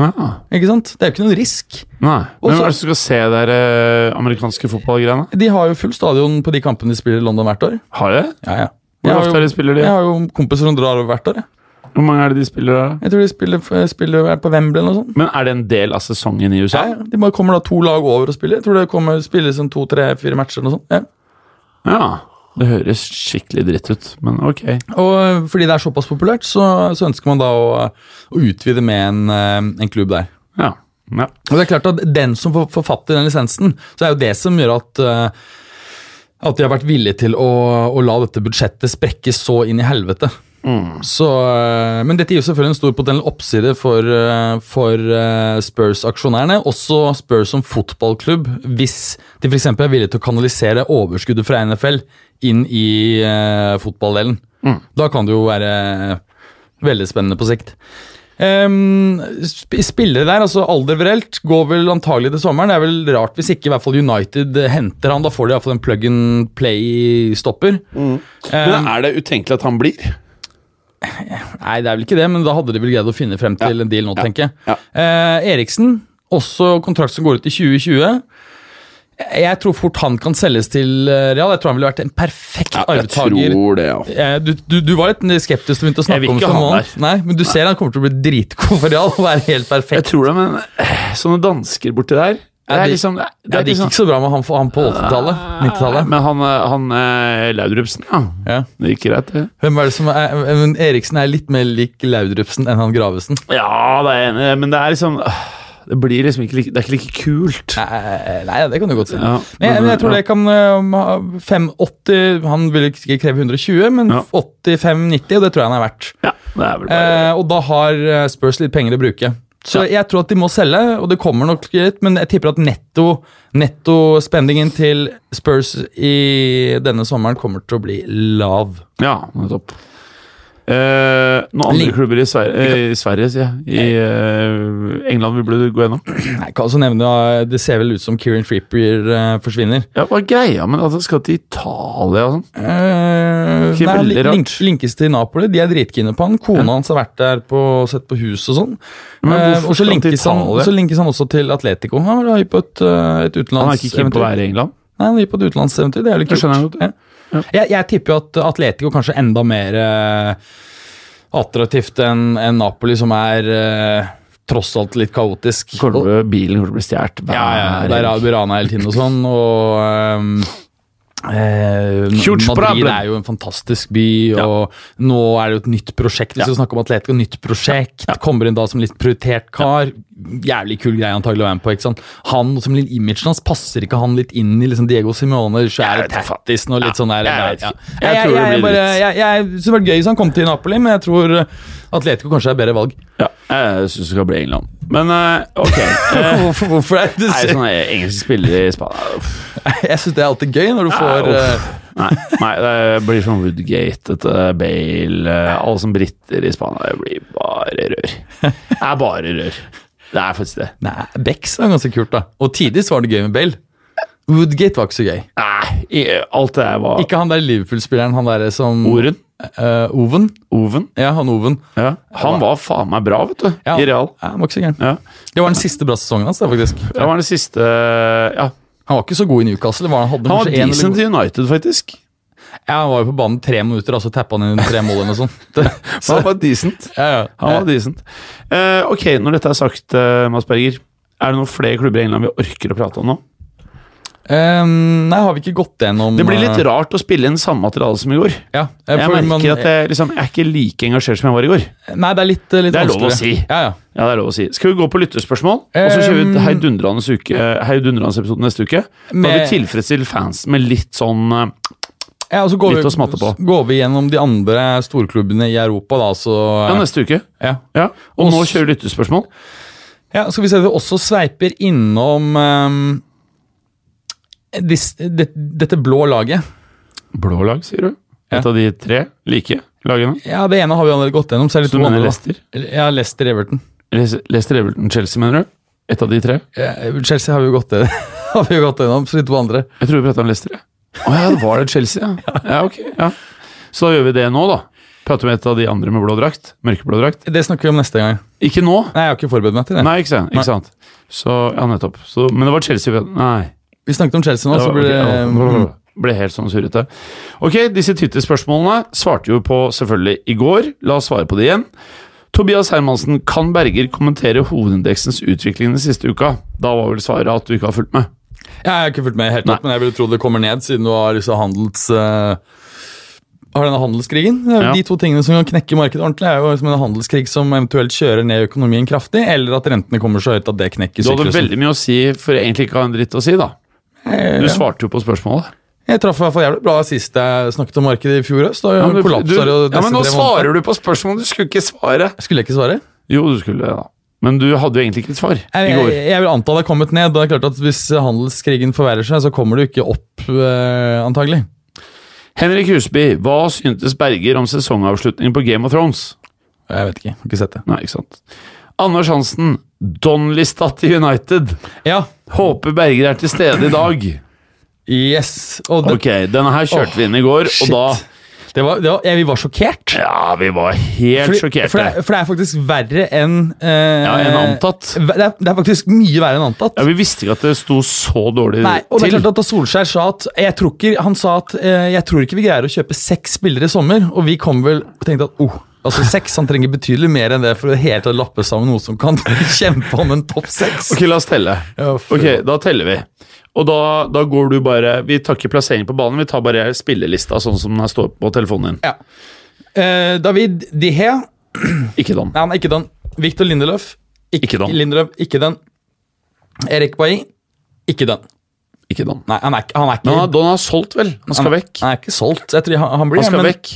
S2: Ah.
S3: Ikke sant? Det er jo ikke noen risk.
S2: Nei.
S3: Og
S2: Hvem
S3: så-
S2: er det som skal se der eh, amerikanske fotballgreiene?
S3: De har jo full stadion på de kampene de spiller i London hvert år.
S2: Har de det?
S3: Ja, ja.
S2: Hvor
S3: Jeg har
S2: ofte
S3: jo-
S2: er det spiller de?
S3: Jeg har jo kompiser som drar over hvert år. Jeg,
S2: Hvor mange er det de spiller da?
S3: jeg tror de spiller, spiller er på Wembley eller noe sånt.
S2: Men er det en del av sesongen i USA?
S3: Ja, ja. De bare kommer da to lag over og spiller. Jeg tror det kommer spilles en to, tre, fire matcher eller noe sånt. Ja.
S2: Ja. Det høres skikkelig dritt ut, men ok.
S3: Og eh, fordi det er såpass populært, så, så ønsker man da å, å utvide med en, eh, en klubb der.
S2: Ja. ja.
S3: Og det er klart at Den som for- forfatter den lisensen, så er jo det som gjør at eh, at de har vært villige til å, å la dette budsjettet sprekke så inn i helvete. Så, eh, men dette gir jo selvfølgelig en stor potensiell oppside for, eh, for eh, Spurs-aksjonærene. Også Spurs som fotballklubb, hvis de f.eks. er villige til å kanalisere overskuddet fra NFL inn i eh, fotballdelen. Da kan det jo være eh, veldig spennende på sikt. Ehm, sp spillere der, altså alderverelt, går vel antagelig til sommeren. Det er vel rart hvis ikke i hvert fall United eh, henter han. Da får de iallfall en plug and play-stopper.
S2: Men er det utenkelig at han blir?
S3: Nei, det er vel ikke det, men da hadde de vel greid å finne frem til en deal nå, tenker jeg.
S2: ja.
S3: Eh, Eriksen, også kontrakt som går ut i 2020. Jeg tror fort han kan selges til eh, Real. Jeg tror han ville vært en perfekt
S2: Jeg
S3: arvtaker.
S2: tror det, ja.
S3: Eh, Du, du, du var litt skeptisk til å begynne å
S1: Jeg vil
S3: snakke om
S1: ikke
S3: det.
S1: ha
S3: nå.
S1: han der.
S3: Nei, men du ser han kommer til å bli dritgod for Real og være helt
S2: Jeg
S3: perfekt.
S2: tror det, men eh, sånne dansker borti der Det
S3: Ja,
S2: er
S3: de-
S2: liksom Det
S3: Ja,
S2: er Ah.
S3: det gikk
S2: liksom
S3: ikke så bra med han, han på 80-tallet. 90-tallet.
S2: Men han, eh, han eh, Laudrupsen, ja.
S3: Ja.
S2: Det gikk greit, det.
S3: Hvem er det som er, eh, men Eriksen er litt mer lik Laudrupsen enn han Gravesen.
S2: Ja, det er enig, men det er liksom øh, Det blir liksom ikke like, Det er ikke like kult.
S3: Nei, eh, nei, det kan du godt si.
S2: Ja,
S3: men, jeg, men jeg tror
S2: ja.
S3: det kan øhm, ha 580 Han vil ikke kreve 120, men
S2: Ja.
S3: 85-90, og det tror jeg han er verdt.
S2: Ja, det er vel bare
S3: Eh, og da har eh, Spurs litt penger å bruke. Så jeg tror at de må selge, og det kommer nok litt, men jeg tipper at netto nettospendingen til Spurs i denne sommeren kommer til å bli lav.
S2: Ja, nettopp. Eh, noen andre
S3: Lin- klubber
S2: klubber i Sverige, i Sverige sier jeg. I eh, England vil du gå gjennom.
S3: Nei, kan også nevne, eh, Det ser vel ut som Kieran Frippier eh, forsvinner.
S2: Ja, Hva er greia med at han skal til Italia og sånn?
S3: Eh,
S2: Ikke
S3: nei,
S2: veldig
S3: link-
S2: rart.
S3: link, linkes til Napoli. De er dritkine på han. Kona hans har vært der på, sett på hus og sånn.
S2: Men
S3: Eh,
S2: hvorfor
S3: og så
S2: skal han til
S3: linkes, han,
S2: Italia?
S3: så linkes han også til Atletico. Han var hype på et, eh, et
S2: Han er ikke keen på å
S3: utenlandseventyr.
S2: være i England.
S3: Nei, han er hype på et utenlandseventyr. Det er jo
S2: Det skjønner jeg godt,
S3: kult. Ja. Jeg, jeg tipper jo at Atletico kanskje er enda mer eh, attraktivt enn enn Napoli, som er eh, tross alt litt kaotisk.
S2: Kommer til å- Bilen kommer til å bli stjålet hver
S3: Ja, ja, ja. Der er
S2: helg.
S3: jo Burana hele tiden og sånn, og ehm, eh,
S2: Huge
S3: Madrid
S2: problem.
S3: er jo en fantastisk by,
S2: Ja.
S3: og nå er det jo et nytt prosjekt. Vi skal snakke om Atletico, nytt prosjekt. Kommer inn da som litt prioritert kar. Jævlig kul greie antagelig å være med på. ikke sant? Han som litt imagen hans, passer ikke han litt inn i liksom Diego Simone, svære tattisen og litt sånn der?
S2: jeg vet
S3: Ja.
S2: ikke. Jeg
S3: Jeg-
S2: tror det
S3: jeg-
S2: blir
S3: jeg bare-
S2: dritt.
S3: jeg- jeg- Det hadde vært gøy hvis han kom til Napoli, men jeg tror eh, Atletico kanskje er bedre valg.
S2: Ja, jeg syns det skal bli England. Men eh, ok. Eh, sånn,
S3: Hvorfor, hvorfor er det du
S2: er
S3: ser-
S2: det sånne engelske spillere i Spania? Uff.
S3: Jeg syns det er alltid gøy når du får
S2: Nei,
S3: eh,
S2: uff. nei, nei, det blir sånn Woodgate, dette Bale eh, Alle som briter i Spania, det blir bare rør. Det er bare rør. Det er faktisk det.
S3: Nei, Becks var ganske kult, da. Og tidligst var det gøy med Bale. Woodgate var ikke så gøy.
S2: Nei, i, alt det der var
S3: Ikke han der Liverpool-spilleren, han derre som
S2: Oren.
S3: Eh, Oven.
S2: Oven.
S3: Ja, han Oven.
S2: Ja. Han var faen meg bra, vet du.
S3: Ja.
S2: I real.
S3: Ja, han var ikke så gæren.
S2: Ja.
S3: Det var den siste bra sesongen hans, da, faktisk.
S2: Det var den siste Ja.
S3: Han var ikke så god i Newcastle. Var han, hadde
S2: Han var
S3: kanskje en eller
S2: decent
S3: to-
S2: i United, faktisk.
S3: ja, han var jo på banen tre minutter, og så tappa han inn tre mål eller noe sånt. Det- Så,
S2: Han var decent.
S3: ja, ja.
S2: Han var decent. Eh, ok, når dette er sagt, eh, Mads Berger, er det noen flere klubber i England vi orker å prate om nå?
S3: Eh, nei, har vi ikke gått gjennom
S2: Det blir litt
S3: eh,
S2: rart å spille inn samme materiale som i går.
S3: Ja, eh,
S2: Jeg
S3: for
S2: merker
S3: man-
S2: at jeg, liksom, jeg er ikke like engasjert som jeg var i går.
S3: Nei, det er litt, eh, litt
S2: Det er lov å
S3: vanskeligere.
S2: si.
S3: Ja, ja.
S2: Ja, det er lov å si. Skal vi gå på lytterspørsmål? Og så kjører vi et heidundrende uke- eh, heidundrende episode neste uke. Da har
S3: Med-
S2: vi tilfredsstilt fansen med litt sånn eh,
S3: ja og så går
S2: Litt
S3: vi,
S2: å smatte på.
S3: Går vi gjennom de andre storklubbene i Europa, da, så
S2: Ja, neste uke.
S3: ja.
S2: Ja. Og nå
S3: Og s-
S2: kjører vi lytterspørsmål.
S3: Ja, skal vi se, det også sveiper innom ehm, dis, det, dette blå laget.
S2: Blå lag, sier du?
S3: Ja.
S2: Et av de tre like lagene?
S3: Ja, Det ene har vi allerede gått gjennom. Så er det
S2: Så
S3: to
S2: du mener
S3: andre, da.
S2: Leicester?
S3: Ja, Leicester Everton.
S2: Les- Leicester Everton Chelsea, mener du? Et av de tre?
S3: Ja, Chelsea har vi jo gått, gjennom- har vi jo gått gjennom, så de to andre.
S2: Jeg tror vi prata om Leicester, jeg. Å ja, det var det Chelsea, ja. ja, ok, ja. Så da gjør vi det nå, da. Prater med et av de andre med blå drakt. Mørkeblå drakt.
S3: Det snakker vi om neste gang.
S2: Ikke nå.
S3: Nei, jeg har ikke forberedt meg til det.
S2: Nei, ikke sant. Ikke sant. Så, ja, nettopp. Så, men det var Chelsea vi- Nei.
S3: Vi snakket om Chelsea nå,
S2: Det
S3: så
S2: var,
S3: blir det mm.
S2: ok, ja. ble helt sånn surrete. Ok, disse Twitter-spørsmålene svarte jo på selvfølgelig i går. La oss svare på det igjen. Tobias Hermansen, kan Berger kommentere hovedindeksens utvikling den siste uka? Da var vel svaret at du ikke har fulgt med.
S3: Jeg har ikke fulgt med helt opp,
S2: Nei.
S3: men jeg ville tro det kommer ned, siden du har liksom handels... eh, har denne handelskrigen. Det er jo
S2: Ja.
S3: De to tingene som kan knekke markedet ordentlig, er jo liksom en handelskrig som eventuelt kjører ned økonomien kraftig, eller at rentene kommer så høyt at det knekker
S2: Du hadde
S3: syklusen.
S2: veldig mye å si for egentlig ikke å ha en dritt å si, da. Du svarte jo på spørsmålet.
S3: Jeg traff i hvert fall jævlig bra sist jeg snakket om markedet i fjor høst. Da
S2: men, du,
S3: kollapsa det jo nesten
S2: ja, men nå
S3: tre måneder.
S2: svarer du på spørsmålet, du skulle ikke svare.
S3: Skulle jeg ikke svare?
S2: Jo, du skulle det, da. Men du hadde jo egentlig ikke et svar
S3: Jeg,
S2: i
S3: jeg,
S2: går.
S3: jeg vil anta det er kommet ned. og Det er klart at Hvis handelskrigen forverrer seg, så kommer det jo ikke opp, eh, antagelig.
S2: Henrik Husby, hva syntes Berger om sesongavslutningen på Game of Thrones?
S3: Jeg vet ikke. jeg Har ikke sett det.
S2: Nei, ikke sant. Anders Hansen, Donlystad til United.
S3: Ja.
S2: Håper Berger er til stede i dag.
S3: Yes. Og det,
S2: Ok, denne her kjørte vi inn i går,
S3: shit.
S2: og da
S3: Det var, det var, jeg, vi var sjokkert.
S2: Ja, vi var helt
S3: Fordi-
S2: sjokkerte.
S3: For, det, for det er faktisk verre enn eh,
S2: Ja, enn antatt.
S3: Det er, det er faktisk mye verre enn antatt.
S2: ja, vi visste ikke at det sto så dårlig
S3: Nei, og det er
S2: til.
S3: klart at da Solskjær sa at jeg tror ikke, Han sa at eh, jeg tror ikke vi greier å kjøpe seks spillere i sommer, og vi kom vel og tenkte at oh, altså seks Han trenger betydelig mer enn det for å helt å lappe sammen noe som kan kjempe om en topp seks.
S2: Ok, la oss telle.
S3: Ja, for-
S2: Ok, da teller vi. Og da, da går du bare Vi tar ikke plassering på banen, vi tar bare spillelista sånn som den her står på telefonen din.
S3: Ja. Eh, David Dihe Nei,
S2: Ikke den.
S3: han er ikke den. Victor Lindeløf.
S2: Ikke den.
S3: Lindeløf, ikke den. Erik Bailly. Ikke den.
S2: Ikke den.
S3: Nei, han er, ikke- han er ikke
S2: Men han, Don har solgt, vel? Han skal
S3: han,
S2: vekk.
S3: Han er ikke solgt. Jeg tror han, han blir
S2: Han skal
S3: men,
S2: vekk.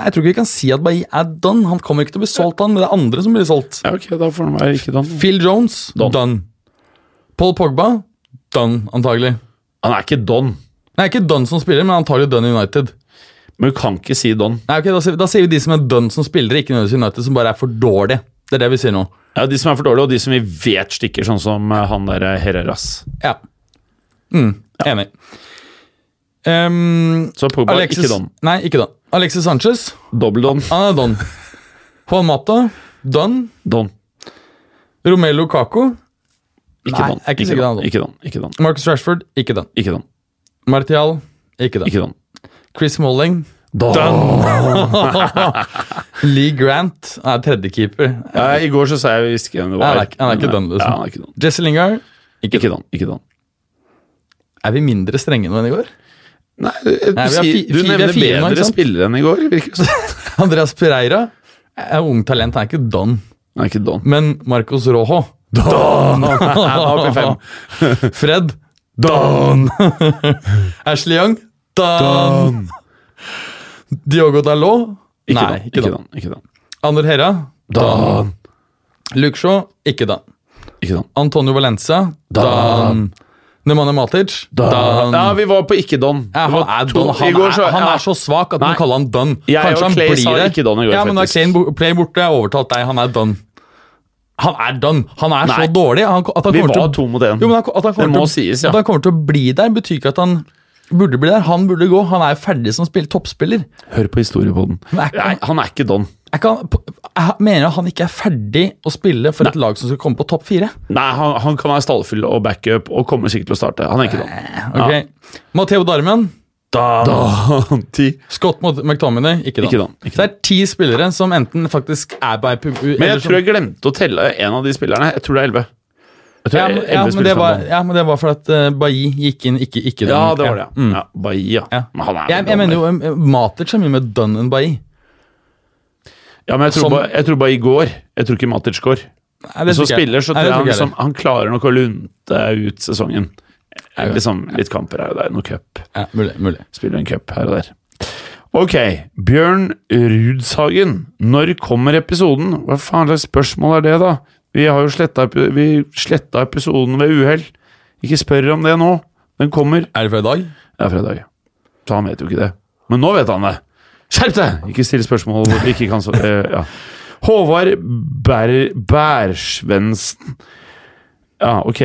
S3: Nei, jeg tror ikke vi kan si at Bailly er done. Han kommer ikke til å bli solgt, han, men det er andre som blir solgt.
S2: Ja, ok, da får han være ikke den.
S3: Phil Jones,
S2: Done.
S3: done. Paul Pogba, done, antagelig.
S2: Han er ikke Don,
S3: Nei, ikke done som spiller, men antagelig done i United.
S2: men du kan ikke si Don.
S3: Nei, ok, da, sier- da sier vi de som er done som spillere, ikke nødvendigvis United, som bare er for dårlige. Det er det vi sier nå.
S2: Ja, De som er for dårlige, og de som vi vet stikker, sånn som eh, han der eh, Herreras.
S3: Ja. Mm, Enig. Ehm,
S2: Så Pogba er
S3: Alexis,
S2: ikke Don.
S3: Nei, ikke done. Alexis Sanchez,
S2: Dobbel Don.
S3: han er done. Juan Mata, done.
S2: Don.
S3: Romelu Lukaku,
S2: Ikke
S3: Nei,
S2: Don.
S3: jeg er ikke
S2: Ikke
S3: sikker
S2: Don.
S3: han er Don.
S2: Ikke Don. Ikke Don.
S3: Marcus Rashford, ikke done.
S2: Ikke Don.
S3: Martial, ikke done.
S2: Ikke Don.
S3: Chris Molling,
S2: Don.
S3: Lee Grant, han er tredjekeeper.
S2: Ja, I går så sa jeg vi visste ikke hvem det var.
S3: Han er ikke- han er ikke Don, liksom.
S2: Ja, han er ikke Don.
S3: Jesse Lingard,
S2: Ikke Don. Ikke Don.
S3: Er vi mindre strenge nå enn i går?
S2: Nei, du,
S3: Nei, vi har
S2: sier-
S3: fi-
S2: du
S3: fi- vi har
S2: nevner
S3: fire nå, ikke
S2: bedre
S3: sant?
S2: spillere enn i går, virker det som.
S3: Andreas Pereira er ung talent, han er ikke don.
S2: Han er ikke Don.
S3: Men Marcos Rojo Don!
S2: AP5.
S3: Fred Don! Ashley Young Don! Diogo Dalot
S2: Ikke
S3: Nei,
S2: Don.
S3: ikke
S2: Ikke
S3: don.
S2: Don. Ikke Don.
S3: Ander Herra
S2: Don.
S3: Luke Shaw, ikke don.
S2: Ikke Don.
S3: Antonio Valencia Don! Nemanja Matic Don!
S2: Ja, vi var på ikke Don.
S3: Ja,
S2: Det
S3: han,
S2: var
S3: er
S2: to-
S3: don.
S2: i
S3: Han,
S2: går
S3: er, han
S2: ja.
S3: er så svak at man
S2: Nei.
S3: kaller han don.
S2: Jeg og
S3: Kanskje han
S2: Clay
S3: blir
S2: sa
S3: det.
S2: ikke don i går,
S3: ja, men da
S2: faktisk.
S3: Kane bo- Play borte, jeg har overtalt deg. Han er don. Han er don. Han er
S2: Nei.
S3: så dårlig. Han, at han
S2: Vi
S3: kommer
S2: var
S3: til,
S2: to mot én.
S3: Jo, men han, at
S2: Det
S3: han
S2: må
S3: kommer til,
S2: sies, ja.
S3: At han kommer til å bli der, betyr ikke at han burde bli der. Han burde gå. Han er ferdig som spill, toppspiller.
S2: Hør på historiepodden.
S3: Men er ikke-
S2: Nei, han er ikke Don.
S3: Jeg, kan, jeg mener han ikke er ferdig å spille for et lag som skal komme på topp fire.
S2: Nei, han, han kan være stallfyll og backup og kommer sikkert til å starte. Han er ikke Don.
S3: Ok. Matteo Darmian,
S2: Don. Ti.
S3: Scott mot McTominay, ikke
S2: Ikke
S3: da.
S2: don, ikke
S3: Det er ti spillere som enten faktisk er by pub...
S2: Men jeg tror jeg glemte å telle en av de spillerne. Jeg tror det er elleve. Jeg tror
S3: Ja,
S2: det er
S3: men, ja,
S2: elleve
S3: men det
S2: spillere
S3: var,
S2: som er Don.
S3: ja, men det var for at uh, Bailly gikk inn, ikke, ikke den.
S2: Ja, det var det. Ja.
S3: Mm.
S2: Ja, Bahia.
S3: Ja.
S2: Men han er
S3: Jeg,
S2: vel
S3: jeg
S2: Don,
S3: mener jo
S2: eller?
S3: eh, Matic er mye mer done enn Bailly.
S2: Ja, men jeg tror,
S3: som-
S2: bare, jeg tror bare i går. Jeg tror ikke Matic går.
S3: Nei,
S2: Men
S3: det
S2: som
S3: tror ikke jeg.
S2: spiller så
S3: Nei,
S2: tror
S3: det
S2: jeg
S3: tror
S2: han,
S3: ikke jeg
S2: liksom, han klarer nok å lunte ut sesongen. Eh, Liksom, litt kamper her og der, noe cup.
S3: heller. ja, mulig, mulig.
S2: Spiller en cup her og der. Ok, Bjørn Rudshagen. Når kommer episoden? Hva faen slags spørsmål er det, da? Vi har jo sletta, epi- vi sletta episoden ved uhell. Ikke spør om det nå. Den kommer.
S3: Er det fra i dag?
S2: Det er fredag. Så han vet jo ikke det. Men nå vet han det. Skjerp deg! Ikke still spørsmål hvor vi ikke kan svare. eh, ja. Håvard Bær Bærsvensen. Ja, ok.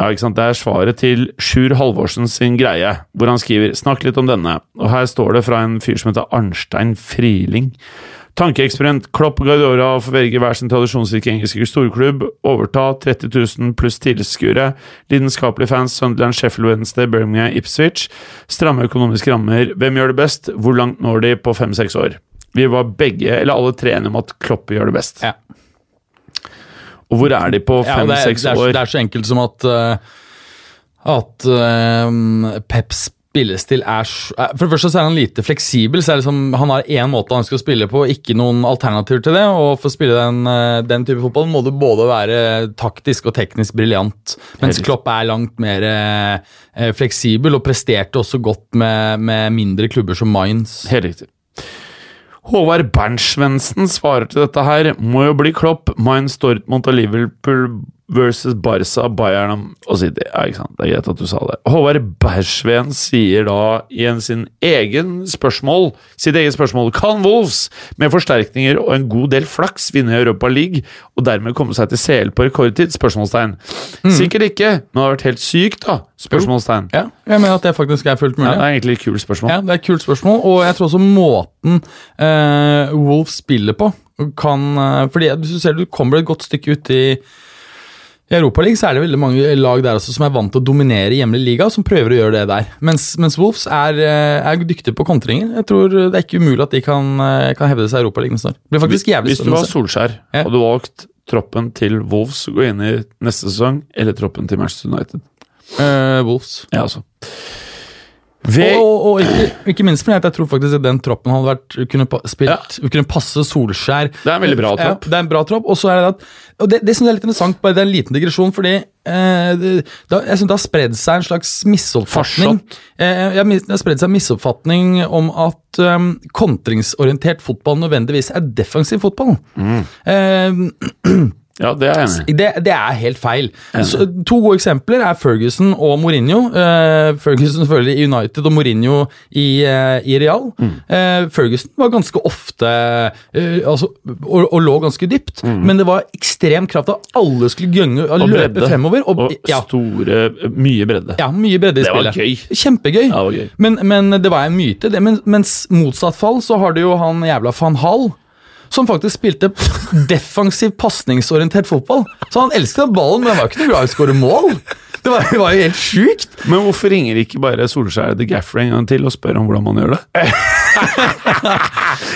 S2: Ja, ikke sant? Det er svaret til Sjur Halvorsen sin greie, hvor han skriver 'Snakk litt om denne'. Og her står det fra en fyr som heter Arnstein Friling. Tankeeksperiment. Klopp og Guardiola får velge hver sin tradisjonsrike engelske storklubb. Overta 30 000 pluss tilskuere. Lidenskapelige fans Sunderland, Sheffield Wednesday, Birmingham, Ipswich. Stramme økonomiske rammer. Hvem gjør det best? Hvor langt når de på fem-seks år? Vi var begge, eller alle tre, enige om at Klopp gjør det best.
S3: Ja.
S2: Og hvor er de på
S3: Ja, og det, er,
S2: fem-seks
S3: det, er,
S2: år?
S3: det er så enkelt som at eh, at eh, Peps spillestil er s- eh, For det første så er han lite fleksibel. så er det liksom, Han har én måte han skal spille på, ikke noen alternativ til det. Og for å spille den, eh, den type fotball må du både være taktisk og teknisk briljant. Mens
S2: Helt.
S3: Klopp er langt mer eh, eh, fleksibel og presterte også godt med, med mindre klubber som Mines.
S2: Helt riktig. Håvard Bernsvensen svarer til dette her. Må jo bli Klopp. Mainz, Dortmund og Liverpool versus Barca, Bayern og City. Ja, ikke sant? Det er greit at du sa det. Håvard Bergsveen sier da igjen sin egen spørsmål, sitt eget spørsmål Kan Wolves med forsterkninger og en god del flaks vinne Europa League og dermed komme seg til CL på rekordtid? Spørsmålstegn. Sikkert ikke, men det har vært helt sykt, da? Spørsmålstegn.
S3: Mm. Ja, jeg mener at det faktisk er fullt
S2: Ja,
S3: mulig.
S2: det er egentlig et kult spørsmål.
S3: Ja, Det er et kult spørsmål, og jeg tror også måten eh, Wolf spiller på kan eh, Fordi hvis du ser du kommer et godt stykke ut i i Europaligaen er det veldig mange lag der også som er vant til å dominere i hjemlig liga, som prøver å gjøre det der. Mens, mens Wolves er, eh, er dyktige på kontringer. Jeg tror Det er ikke umulig at de kan, eh, kan hevde seg i Europaligaen snart. Det blir faktisk jævlig
S2: Hvis du
S3: spennende.
S2: var
S3: å se.
S2: Solskjær,
S3: Ja.
S2: hadde du valgt troppen til Wolves å gå inn i neste sesong, eller troppen til Manchester United?
S3: Eh, Wolves.
S2: Ja, altså.
S3: Og, og, og ikke, ikke minst fordi at jeg tror faktisk at den troppen hadde vært, kunne, pa- spilt, kunne passe Solskjær.
S2: Det er en veldig bra tropp.
S3: Ja, det er en bra tropp. Og så er det at, og det, det synes jeg er litt interessant, bare det er en liten digresjon, fordi eh, det, da, jeg synes det har spredd seg en slags misoppfatning.
S2: Farsott.
S3: Eh, jeg mis- det har spredd seg en misoppfatning om at eh, kontringsorientert fotball nødvendigvis er defensiv fotball.
S2: Mm.
S3: Eh,
S2: Ja, det er jeg enig i.
S3: det, det er helt feil. Så, to gode eksempler er Ferguson og Mourinho. Eh, Ferguson selvfølgelig i United og Mourinho i, eh, i Real. Eh, Ferguson var ganske ofte eh, altså, og, og lå ganske dypt, men det var ekstrem kraft av alle skulle gønge Mm. og,
S2: Og
S3: løpe
S2: bredde.
S3: fremover. Og,
S2: Og
S3: ja,
S2: store Mye bredde.
S3: ja, mye bredde i
S2: Det var
S3: spillet.
S2: gøy.
S3: Kjempegøy.
S2: Ja, det var gøy.
S3: Men, men det var en myte. Det. Men, mens motsatt fall så har du jo han jævla van Hall. Som faktisk spilte defensiv pasningsorientert fotball. Så han elska ballen, men han var ikke noe glad i å skåre mål. Det var, det var jo helt sjukt.
S2: Men hvorfor ringer ikke bare Solskjær The Gaffer en gang til og spør om hvordan man gjør det?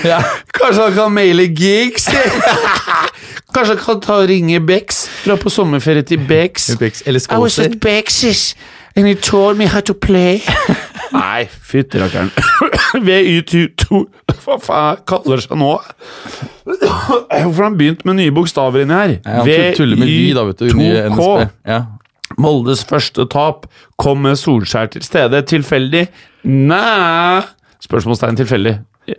S3: Ja.
S2: Kanskje han kan maile gigs? Kanskje han kan ta og ringe Bex? Dra på sommerferie til Bex?
S3: Bex, eller Skåser. I was at
S2: Bex's, and he told me how to play. Nei, fytti rakkeren. VY22 Hva faen kaller det seg nå? Hvorfor har han begynt med nye bokstaver inni her?
S3: Han tu- tuller med vi, da, vet du. Nye NSB. Ja.
S2: Moldes første tap. Kom med Solskjær til stede. Tilfeldig? Nei Spørsmålstegn tilfeldig.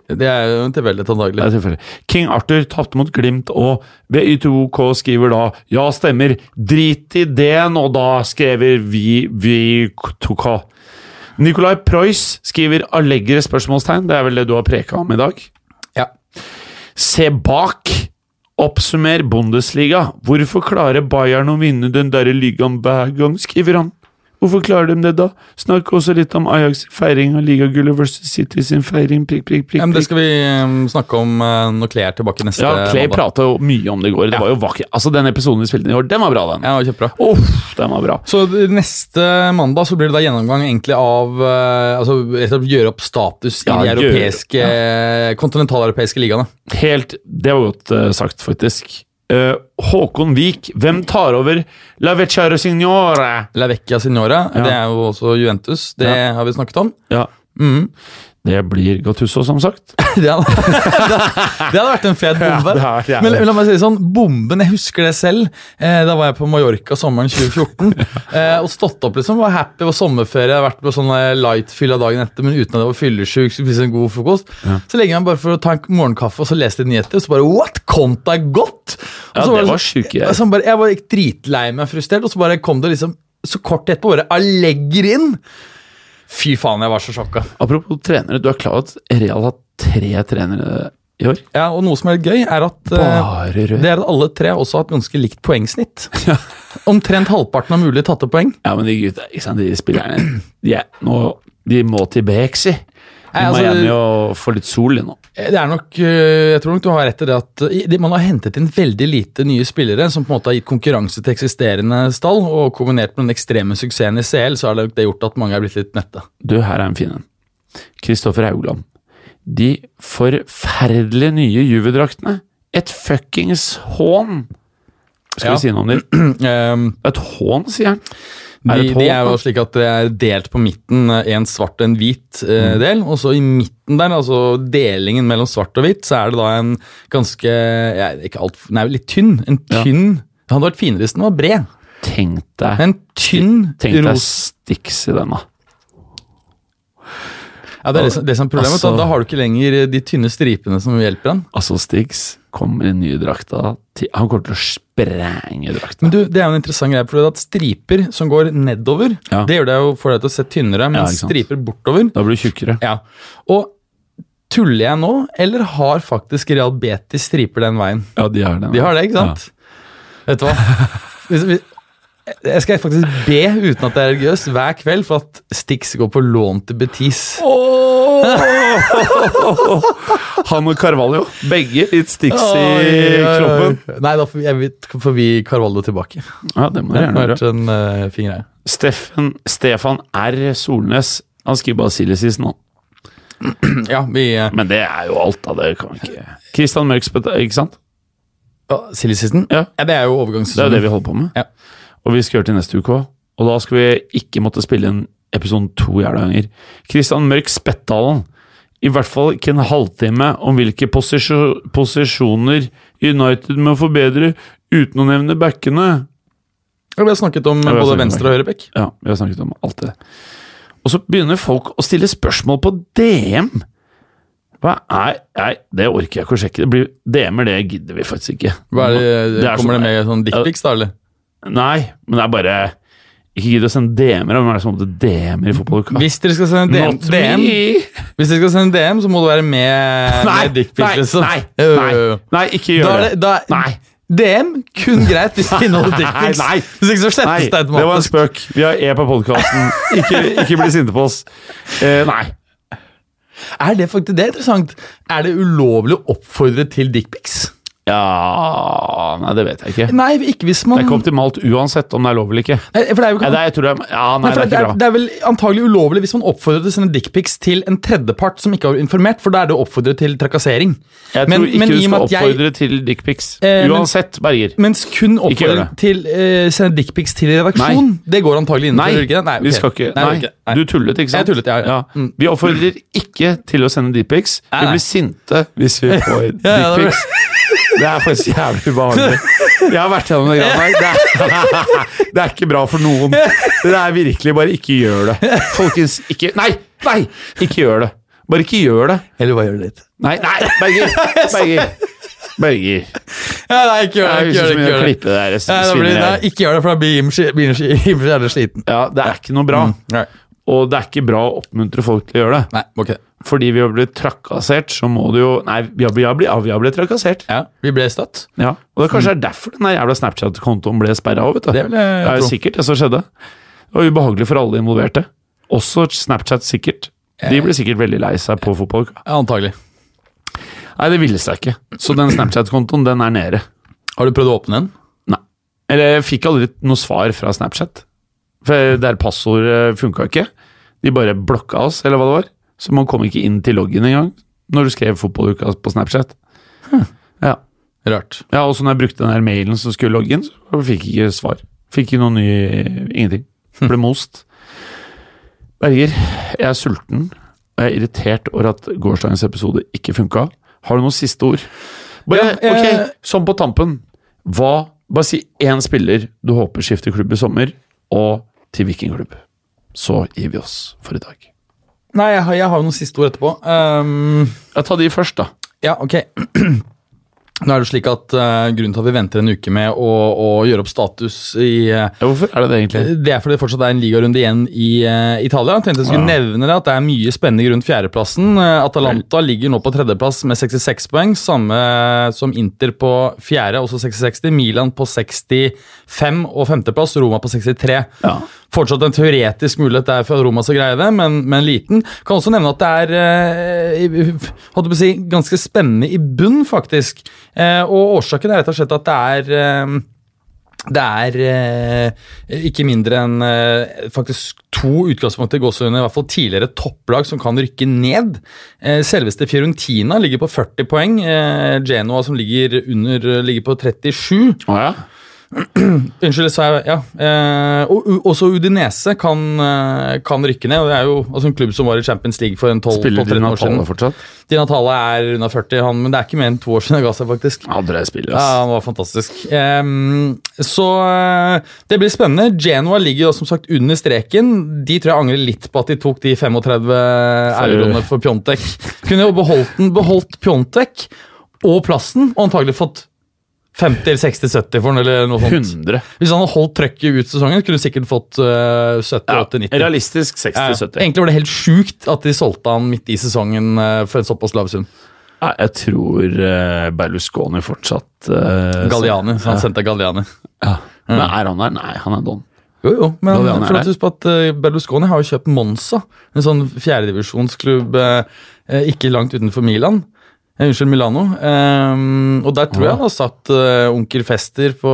S3: Det er jo en tilfeldighet,
S2: Det
S3: antagelig.
S2: er tilfeldig. King Arthur tapte mot Glimt, og BY2K skriver da Ja, stemmer. Drit i det nå, da, skriver vi VY2K. Nicolai Preuss skriver allegre spørsmålstegn. Det er vel det du har preka om i dag?
S3: Ja.
S2: Se bak! Oppsummer Bundesliga. Hvorfor klarer Bayern å vinne den derre ligaen hver gang, skriver han. Hvorfor klarer de det, da? Snakk også litt om Ajax' feiring av ligagullet versus City sin feiring, prikk, prikk, prikk.
S3: Ja, men det
S2: prikk.
S3: skal vi eh, snakke om eh, når Clay er tilbake neste
S2: Ja, Clay
S3: mandag.
S2: prata jo mye om det i går. Det var jo vakkert. Altså, Den episoden vi spilte inn i år, den var bra, den.
S3: Ja, kjempebra.
S2: Uff, den var bra.
S3: Så d- neste mandag så blir det da gjennomgang egentlig av eh, altså, rett og slett Gjøre opp status
S2: Ja,
S3: i de
S2: gjøre-
S3: europeiske, kontinentaleuropeiske ligaene.
S2: Helt Det var godt eh, sagt, faktisk. Eh, Håkon Vik, hvem tar over La Vecchiaro Signore?
S3: La Vecchia Signora,
S2: Ja.
S3: det er jo også Juventus. Det
S2: Ja.
S3: har vi snakket om.
S2: Ja. Mm. Det blir Gattusso, som sagt.
S3: Det hadde, det hadde vært en fet bombe.
S2: det hadde vært jævlig.
S3: Men la meg si det sånn, bomben, jeg husker det selv. Eh, da var jeg på Mallorca sommeren 2014. Eh, og stått opp, liksom. Var happy, var sommerferie, hadde vært på sånn eh, light-fylla dagen etter, men uten at jeg var fyllesyk. Skulle spise en god frokost. Så legger jeg meg bare for å ta en morgenkaffe, og så leste jeg nyheter, og så bare What? Konta er godt! Og
S2: Ja,
S3: så
S2: det
S3: sånn-
S2: var sjuke greier.
S3: og så bare, jeg var dritlei meg frustrert, og så bare kom det liksom så kort etterpå, bare Allegger inn! Fy faen, jeg var så sjokka.
S2: Apropos trenere, du er klar over at Real har tre trenere i år?
S3: Ja, og noe som er litt gøy, er at eh,
S2: Bare rød.
S3: Det er at alle tre også har et ganske likt poengsnitt. Omtrent halvparten av mulig tatte poeng.
S2: Ja, men de gutta, ikke sant, de spillerne de, er- nå, de må til Bexi. De
S3: Nei,
S2: må
S3: altså-
S2: hjem og få litt sol de nå.
S3: Eh, Det er nok, øh, Jeg tror nok du har rett i det at øh, i- man har hentet inn veldig lite nye spillere som på en måte har gitt konkurranse til eksisterende stall, og kombinert med den ekstreme suksessen i CL, så har det det gjort at mange er blitt litt nette.
S2: Du, her er en fin en. Kristoffer Haugland. De forferdelige nye Juve-draktene. Et fuckings hån! Skal
S3: Ja.
S2: vi si noe om det?
S3: Ehm,
S2: Et hån, sier han. Er det
S3: de,
S2: et
S3: de
S2: hån,
S3: er jo
S2: da?
S3: slik at det er delt på midten øh, en svart og en hvit øh, del, og så i midten der, altså delingen mellom svart og hvitt, så er det da en ganske ja, ikke alt, Nei, litt tynn. En tynn Det hadde vært finere hvis den var bred.
S2: Tenk deg
S3: En tynn
S2: Tenk deg
S3: ros.
S2: Stix i den, da.
S3: Ja, det er det som, det som er problemet.
S2: Altså-
S3: da, da har du ikke lenger eh, de tynne stripene som hjelper den.
S2: Altså, Stiggs kommer i den nye drakta. til- Han kommer til å sprenge drakta.
S3: Men du, det er jo en interessant greie, for at striper som går nedover,
S2: Ja.
S3: det gjør deg jo for deg til å se tynnere, men
S2: Ja, ikke sant.
S3: striper bortover
S2: Da blir du tjukkere.
S3: Ja. Og tuller jeg nå, eller har faktisk Real Betis striper den veien?
S2: Ja, de har det.
S3: De har det, ikke sant? Vet du hva? Hvis, hvis, jeg skal faktisk be, uten at det er religiøst, hver kveld for at Stix går på lån til Betis.
S2: Han og Carvalho, begge litt Stiggs i kroppen.
S3: Nei, da får vi, jeg, vet- får vi Carvalho tilbake.
S2: Ja, det må du
S3: Det har
S2: gjerne gjøre.
S3: vært en eh, fin greie.
S2: Steffen, Stefan R. Solnes. Han skriver bare Siljesisen, han.
S3: Ja, vi eh,
S2: Men det er jo alt, da. Det kan vi ikke Christian Mørksbøtt, ikke sant?
S3: å, Silly season?
S2: Ja.
S3: ja, det
S2: Det
S3: er jo
S2: er jo
S3: overgangssesongen.
S2: det vi holder på med.
S3: Ja.
S2: Og vi skal gjøre til neste uke òg. Og da skal vi ikke måtte spille inn episode to jævla ganger. Christian Mørk Spettdalen. I hvert fall ikke en halvtime om hvilke posisjo posisjoner United må forbedre uten å nevne backene.
S3: Ja, Vi har snakket om
S2: vi har
S3: både
S2: snakket om
S3: venstre- og høyrebekk.
S2: Ja, vi har snakket om alt det. Og så begynner folk å stille spørsmål på DM. Hva er Nei, det orker jeg ikke å sjekke. Det blir DM-er, det gidder vi faktisk ikke.
S3: Hva er det, eh,
S2: Det er
S3: kommer
S2: sånn-
S3: det med sånn dickpics, da? eller?
S2: Nei, men det er bare Ikke gidd å sende DM-er. Hvem er det som måtte DM-er i fotballuka?
S3: Hvis dere skal sende DM,
S2: Not
S3: DM
S2: me!
S3: Hvis dere skal sende DM, så må du være med
S2: Nei,
S3: med dickpics,
S2: nei,
S3: liksom.
S2: nei,
S3: Jo, jo,
S2: nei,
S3: jo.
S2: nei, ikke
S3: Da
S2: gjør
S3: er
S2: det.
S3: det, da,
S2: Nei.
S3: DM kun greit hvis det inneholder dickpics.
S2: Nei, nei.
S3: Hvis ikke så
S2: Nei,
S3: slettes det
S2: det var en
S3: automatisk.
S2: spøk. Vi har E på podkasten. Ikke, ikke bli sinte på oss. Eh, nei.
S3: Er det faktisk det er interessant? Er det ulovlig å oppfordre til dickpics?
S2: Ja Nei, det vet jeg ikke.
S3: Nei, ikke hvis
S2: Det
S3: man
S2: er ikke optimalt uansett om det er lov eller ikke.
S3: Nei, for det er
S2: Ja,
S3: jo ikke
S2: det er, jeg tror det er, ja, nei,
S3: Nei, for
S2: det er
S3: det,
S2: ikke
S3: er,
S2: bra.
S3: det er vel antagelig ulovlig hvis man oppfordrer til å sende dickpics til en tredjepart som ikke har informert, for da er det å oppfordre til trakassering.
S2: Jeg
S3: men-
S2: tror ikke
S3: men i
S2: du
S3: og med
S2: skal
S3: at jeg-
S2: oppfordre til dickpics.
S3: Eh, men-
S2: Uansett, Berger.
S3: Mens kun oppfordring
S2: gjør det.
S3: til eh, sende dickpics til redaksjon, det går
S2: Nei,
S3: antagelig innenfor. gjør det ikke det?
S2: vi
S3: ok.
S2: skal ikke
S3: Nei,
S2: Nei,
S3: ok. Nei.
S2: du tullet, ikke sant?
S3: Jeg tullet, ja, ja. Mm.
S2: Vi oppfordrer ikke til å sende dickpics. Vi
S3: nei.
S2: blir sinte hvis vi får
S3: ja, det-
S2: dickpics. Det er faktisk jævlig ubehagelig. Jeg har vært gjennom det greiene der. Det er, det er ikke bra for noen. Det er virkelig bare ikke gjør det. Folkens, ikke Nei! Nei! Ikke gjør det. Bare ikke gjør det.
S3: Eller hva gjør det litt?
S2: Nei, nei, Berger! Berger. Berger.
S3: Ja, nei, ikke gjør det.
S2: Jeg synes vi må
S3: Ikke gjør det, ikke gjør det.
S2: klippe det der,
S3: Nei, da blir, nei,
S2: svineriet.
S3: ikke gjør det, for da blir Jim sk- begynner sk- Jim jævlig sliten.
S2: Ja, det er ikke noe bra.
S3: Nei,
S2: Og det er ikke bra å oppmuntre folk til å gjøre det.
S3: Mm. nei ok.
S2: fordi vi har blitt trakassert, så må du jo Nei, vi har, vi har, blitt, ja, vi har blitt trakassert.
S3: Ja, vi ble støtt.
S2: Ja. Og det er kanskje derfor den der jævla Snapchat-kontoen ble sperra òg, vet du.
S3: Det vil jeg
S2: er
S3: tro.
S2: jo sikkert det som skjedde. Det var ubehagelig for alle involverte. Også Snapchat, sikkert. De ble sikkert veldig lei seg på fotballuka.
S3: Ja, antagelig.
S2: Nei, det ville seg ikke. Så den Snapchat-kontoen, den er nede.
S3: Har du prøvd å åpne den?
S2: Nei. Eller jeg fikk aldri noe svar fra Snapchat. For det her passordet funka ikke. De bare blokka oss, eller hva det var. Så man kom ikke inn til loggen engang når du skrev fotballuka på Snapchat. Ja.
S3: Rart.
S2: ja, og så når jeg brukte den her mailen som skulle logge inn, så fikk jeg ikke svar. Fikk ikke noe ny Ingenting.
S3: Hm.
S2: Ble most. Berger, jeg er sulten. og Jeg er irritert over at gårsdagens episode ikke funka. Har du noen siste ord? Bare,
S3: Ja, eh,
S2: ok, Sånn på tampen. Hva, bare si én spiller du håper skifter klubb i sommer, og til hvilken klubb. Så gir vi oss for i dag.
S3: Nei, jeg har, jeg har jo noen siste ord etterpå. Ehm,
S2: Ja, ta de først, da.
S3: Ja, ok. Nå er det jo slik at eh, Grunnen til at vi venter en uke med å, å gjøre opp status i eh,
S2: Ja, hvorfor er det det, egentlig?
S3: Det er fordi det fortsatt er en ligarunde igjen i eh, Italia. Jeg tenkte jeg skulle nevne det, at det er mye spennende rundt fjerdeplassen. Eh, Atalanta ligger nå på tredjeplass med 66 poeng, samme eh, som Inter på fjerde, også 66. Milan på 65 og femteplass, Roma på 63.
S2: Ja.
S3: Fortsatt en teoretisk mulighet der for at Roma skal greie det, men, men liten. Kan også nevne at det er eh, i- holdt jeg på å si, ganske spennende i bunn, faktisk. Eh, og årsaken er rett og slett at det er eh, det er eh, ikke mindre enn eh, faktisk to utgangspunkter i gåsehudene, i hvert fall tidligere topplag som kan rykke ned. Eh, selveste Fiorentina ligger på 40 poeng. Eh, Genoa som ligger, under, ligger på 37.
S2: Å ja?
S3: Unnskyld, sa jeg ja. Eh, og, u- også Udinese kan, eh, kan rykke ned. og Det er jo altså en klubb som var i Champions League for en 12
S2: Spiller de
S3: 12-13 år siden.
S2: Natale fortsatt?
S3: Di Natale er runda 40, han, men det er ikke mer enn to år siden han ga seg, faktisk.
S2: Ja, dere spiller,
S3: Ja,
S2: ass.
S3: han var fantastisk. Ehm, så eh, det blir spennende. Genoa ligger jo som sagt under streken. De tror jeg angrer litt på at de tok de 35 euroene for Pjontek. Kunne jo beholdt den, beholdt Pjontek og plassen, og antagelig fått 50 eller 60-70 for den, eller noe sånt.
S2: 100.
S3: Hvis han hadde holdt trøkket ut sesongen, kunne du sikkert fått eh, 70-80-90.
S2: Realistisk
S3: Ja, ja.
S2: 60-70.
S3: Egentlig var det helt sjukt at de solgte han midt i sesongen eh, for en såpass lav sum.
S2: Ja, jeg tror eh, Berlusconi fortsatt eh, Mm.
S3: Galliani. Så han
S2: Ja.
S3: sendte Galliani.
S2: Men er han der? Nei, han er don.
S3: Jo, jo, men
S2: Galliani er
S3: for at
S2: der.
S3: husk på at eh, Berlusconi har jo kjøpt Monza, en sånn fjerdedivisjonsklubb eh, eh, ikke langt utenfor Milan. Eh, unnskyld, Milano. Eh, og der tror jeg han har satt eh, onkel Fester på,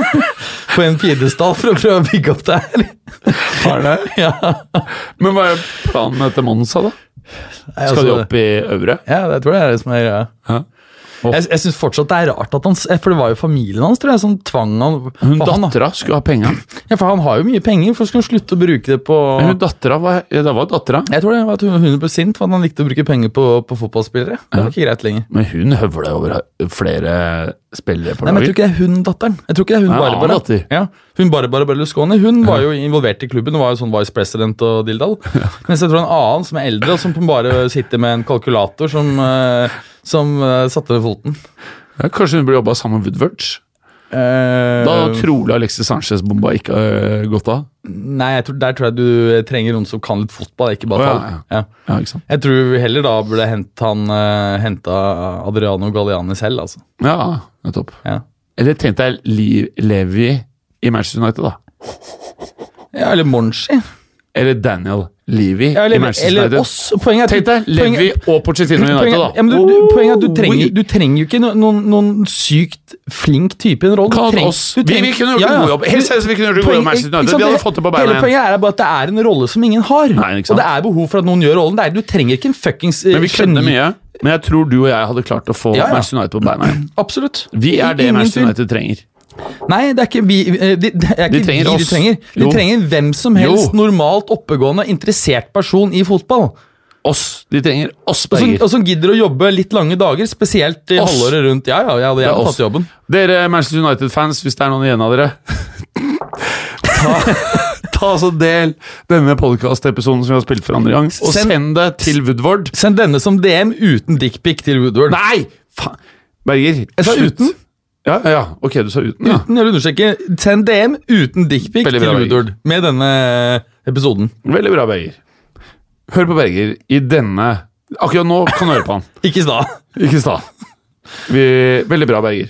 S3: på en pidestall for å prøve å bygge opp det her. ja,
S2: Men hva er planen etter Monza, da?
S3: altså,
S2: Skal de opp i øvre?
S3: Ja, det tror jeg er det som er greia.
S2: Ja.
S3: Jeg, jeg syns fortsatt det er rart at han s- eh, For det var jo familien hans tror jeg, som tvang han.
S2: Hun
S3: for han,
S2: dattera skulle ha penga.
S3: ja, for han har jo mye penger, for skal han slutte å bruke det på
S2: Hun dattera var ja, Det var dattera.
S3: Jeg tror det var at hun, hun ble sint for at han likte å bruke penger på, på fotballspillere. Det var ikke greit lenger.
S2: Men hun høvla over flere spillere på
S3: Nei, men Jeg
S2: laget.
S3: tror ikke det er hun datteren. Jeg tror ikke det er hun
S2: Nei, en annen
S3: Barbara.
S2: datter.
S3: Ja, hun Barbara Berlusconi Hun var jo involvert i klubben og var jo sånn vice president og dilldall. Mens jeg tror en annen som er eldre, og som bare sitter med en kalkulator som, eh, som eh, satte ved foten.
S2: Ja, kanskje hun burde jobba sammen med Woodward? Da
S3: Eh,
S2: trolig Alexis Sanchez-bomba ikke har gått av.
S3: Nei, jeg tror, der tror jeg du eh, trenger noen som kan litt fotball, ikke bare
S2: Å, ja,
S3: fall. Ja.
S2: Ja, ikke sant?
S3: Jeg tror heller da burde hente han eh, henta Adriano Galliani selv, altså.
S2: Ja, nettopp.
S3: Ja.
S2: Eller tenkte jeg Li- Levi i Manchester United, da.
S3: Ja, eller Monchi.
S2: Eller Daniel Levi
S3: Ja,
S2: i
S3: eller,
S2: Manchester
S3: eller
S2: United.
S3: oss. Poenget er
S2: Tenk
S3: at
S2: deg
S3: du-
S2: Levi
S3: poenget-
S2: og Pochettino i United, da.
S3: Poenget, ja, men du, du, poenget er at du
S2: Oh,
S3: trenger,
S2: we-
S3: du trenger jo ikke no- noen, noen sykt flink type i en rolle. Du
S2: Kall
S3: trenger-
S2: oss. Vi-
S3: du
S2: vi
S3: trenger-
S2: kunne gjort en god jobb. Helt seriøst, vi kunne gjort en god jobb i Manchester
S3: ikke
S2: United.
S3: sant?
S2: Vi hadde fått det på beina
S3: Hele
S2: igjen.
S3: poenget er bare at det er en rolle som ingen har.
S2: Nei, ikke
S3: og
S2: sant?
S3: det er behov for at noen gjør rollen. Det er, du trenger ikke en fuckings eh,
S2: Men vi
S3: geni.
S2: kødder mye. Men jeg tror du og jeg hadde klart å få
S3: Ja, ja.
S2: Manchester United på beina igjen.
S3: Absolutt.
S2: Vi er det
S3: Ingen
S2: Manchester
S3: tvil.
S2: United trenger.
S3: Nei, det er ikke vi eh, De, det er ikke
S2: trenger
S3: vi
S2: oss.
S3: de trenger. De
S2: Jo.
S3: trenger hvem som helst
S2: Jo.
S3: normalt oppegående, interessert person i fotball.
S2: Oss. De trenger oss,
S3: Og som,
S2: Berger.
S3: og som gidder å jobbe litt lange dager, spesielt i
S2: Oss.
S3: halvåret rundt. Ja, ja, ja, jeg
S2: Det er
S3: hadde
S2: oss.
S3: tatt jobben.
S2: Dere Manchester United-fans, hvis det er noen igjen av dere Ta, ta så del denne podkast-episoden som vi har spilt for andre gang, og
S3: Send-
S2: send, det til Woodward.
S3: Send denne som DM uten dickpic til Woodward.
S2: Nei! Faen! Berger,
S3: Jeg sa
S2: slutt.
S3: uten.
S2: Ja, ja, ja. ok, du sa uten, ja.
S3: Uten, jeg vil understreke, Send DM uten dickpic
S2: Veldig
S3: til
S2: bra,
S3: Woodward med denne eh, episoden.
S2: Veldig bra, Berger. Hør på Berger i denne Akkurat nå kan du høre på han.
S3: Ikke i stad.
S2: Ikke i stad. Vi- Veldig bra, Berger.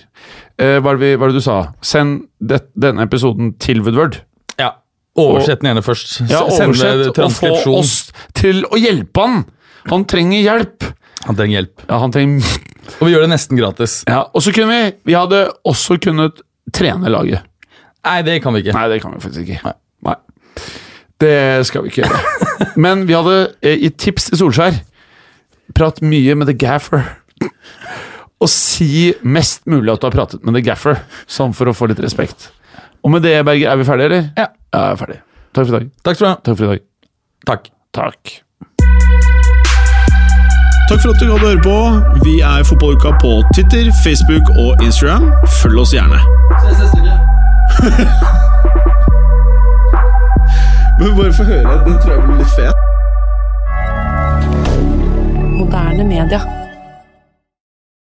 S2: Eh, hva, er det vi, hva er det du sa? Send det, denne episoden til Woodward.
S3: Ja. Oversett den ene først.
S2: Ja,
S3: S- send
S2: oversett
S3: det
S2: og få
S3: transkripsjon.
S2: oss til å hjelpe han! Han trenger hjelp!
S3: Han trenger hjelp.
S2: Ja, han trenger
S3: Og vi gjør det nesten gratis.
S2: ja, Og så kunne vi Vi hadde også kunnet trene laget.
S3: Nei, det kan vi ikke.
S2: Nei, det kan vi faktisk ikke. Nei. Det skal vi ikke gjøre. Men vi hadde eh, i tips til Solskjær Prat mye med The Gaffer. Og si mest mulig at du har pratet med The Gaffer, sånn for å få litt respekt. Og med det, Berger, er vi ferdige, eller?
S3: Ja.
S2: Ja, vi er ferdige. Takk for i dag.
S3: Takk skal du ha.
S2: Takk for i dag.
S3: Takk.
S2: Takk.
S1: Takk for at du gadd å høre på. Vi er Fotballuka på Twitter, Facebook og Instagram. Følg oss gjerne. Men bare få høre. Den tror jeg blir litt fet.
S4: Moderne media.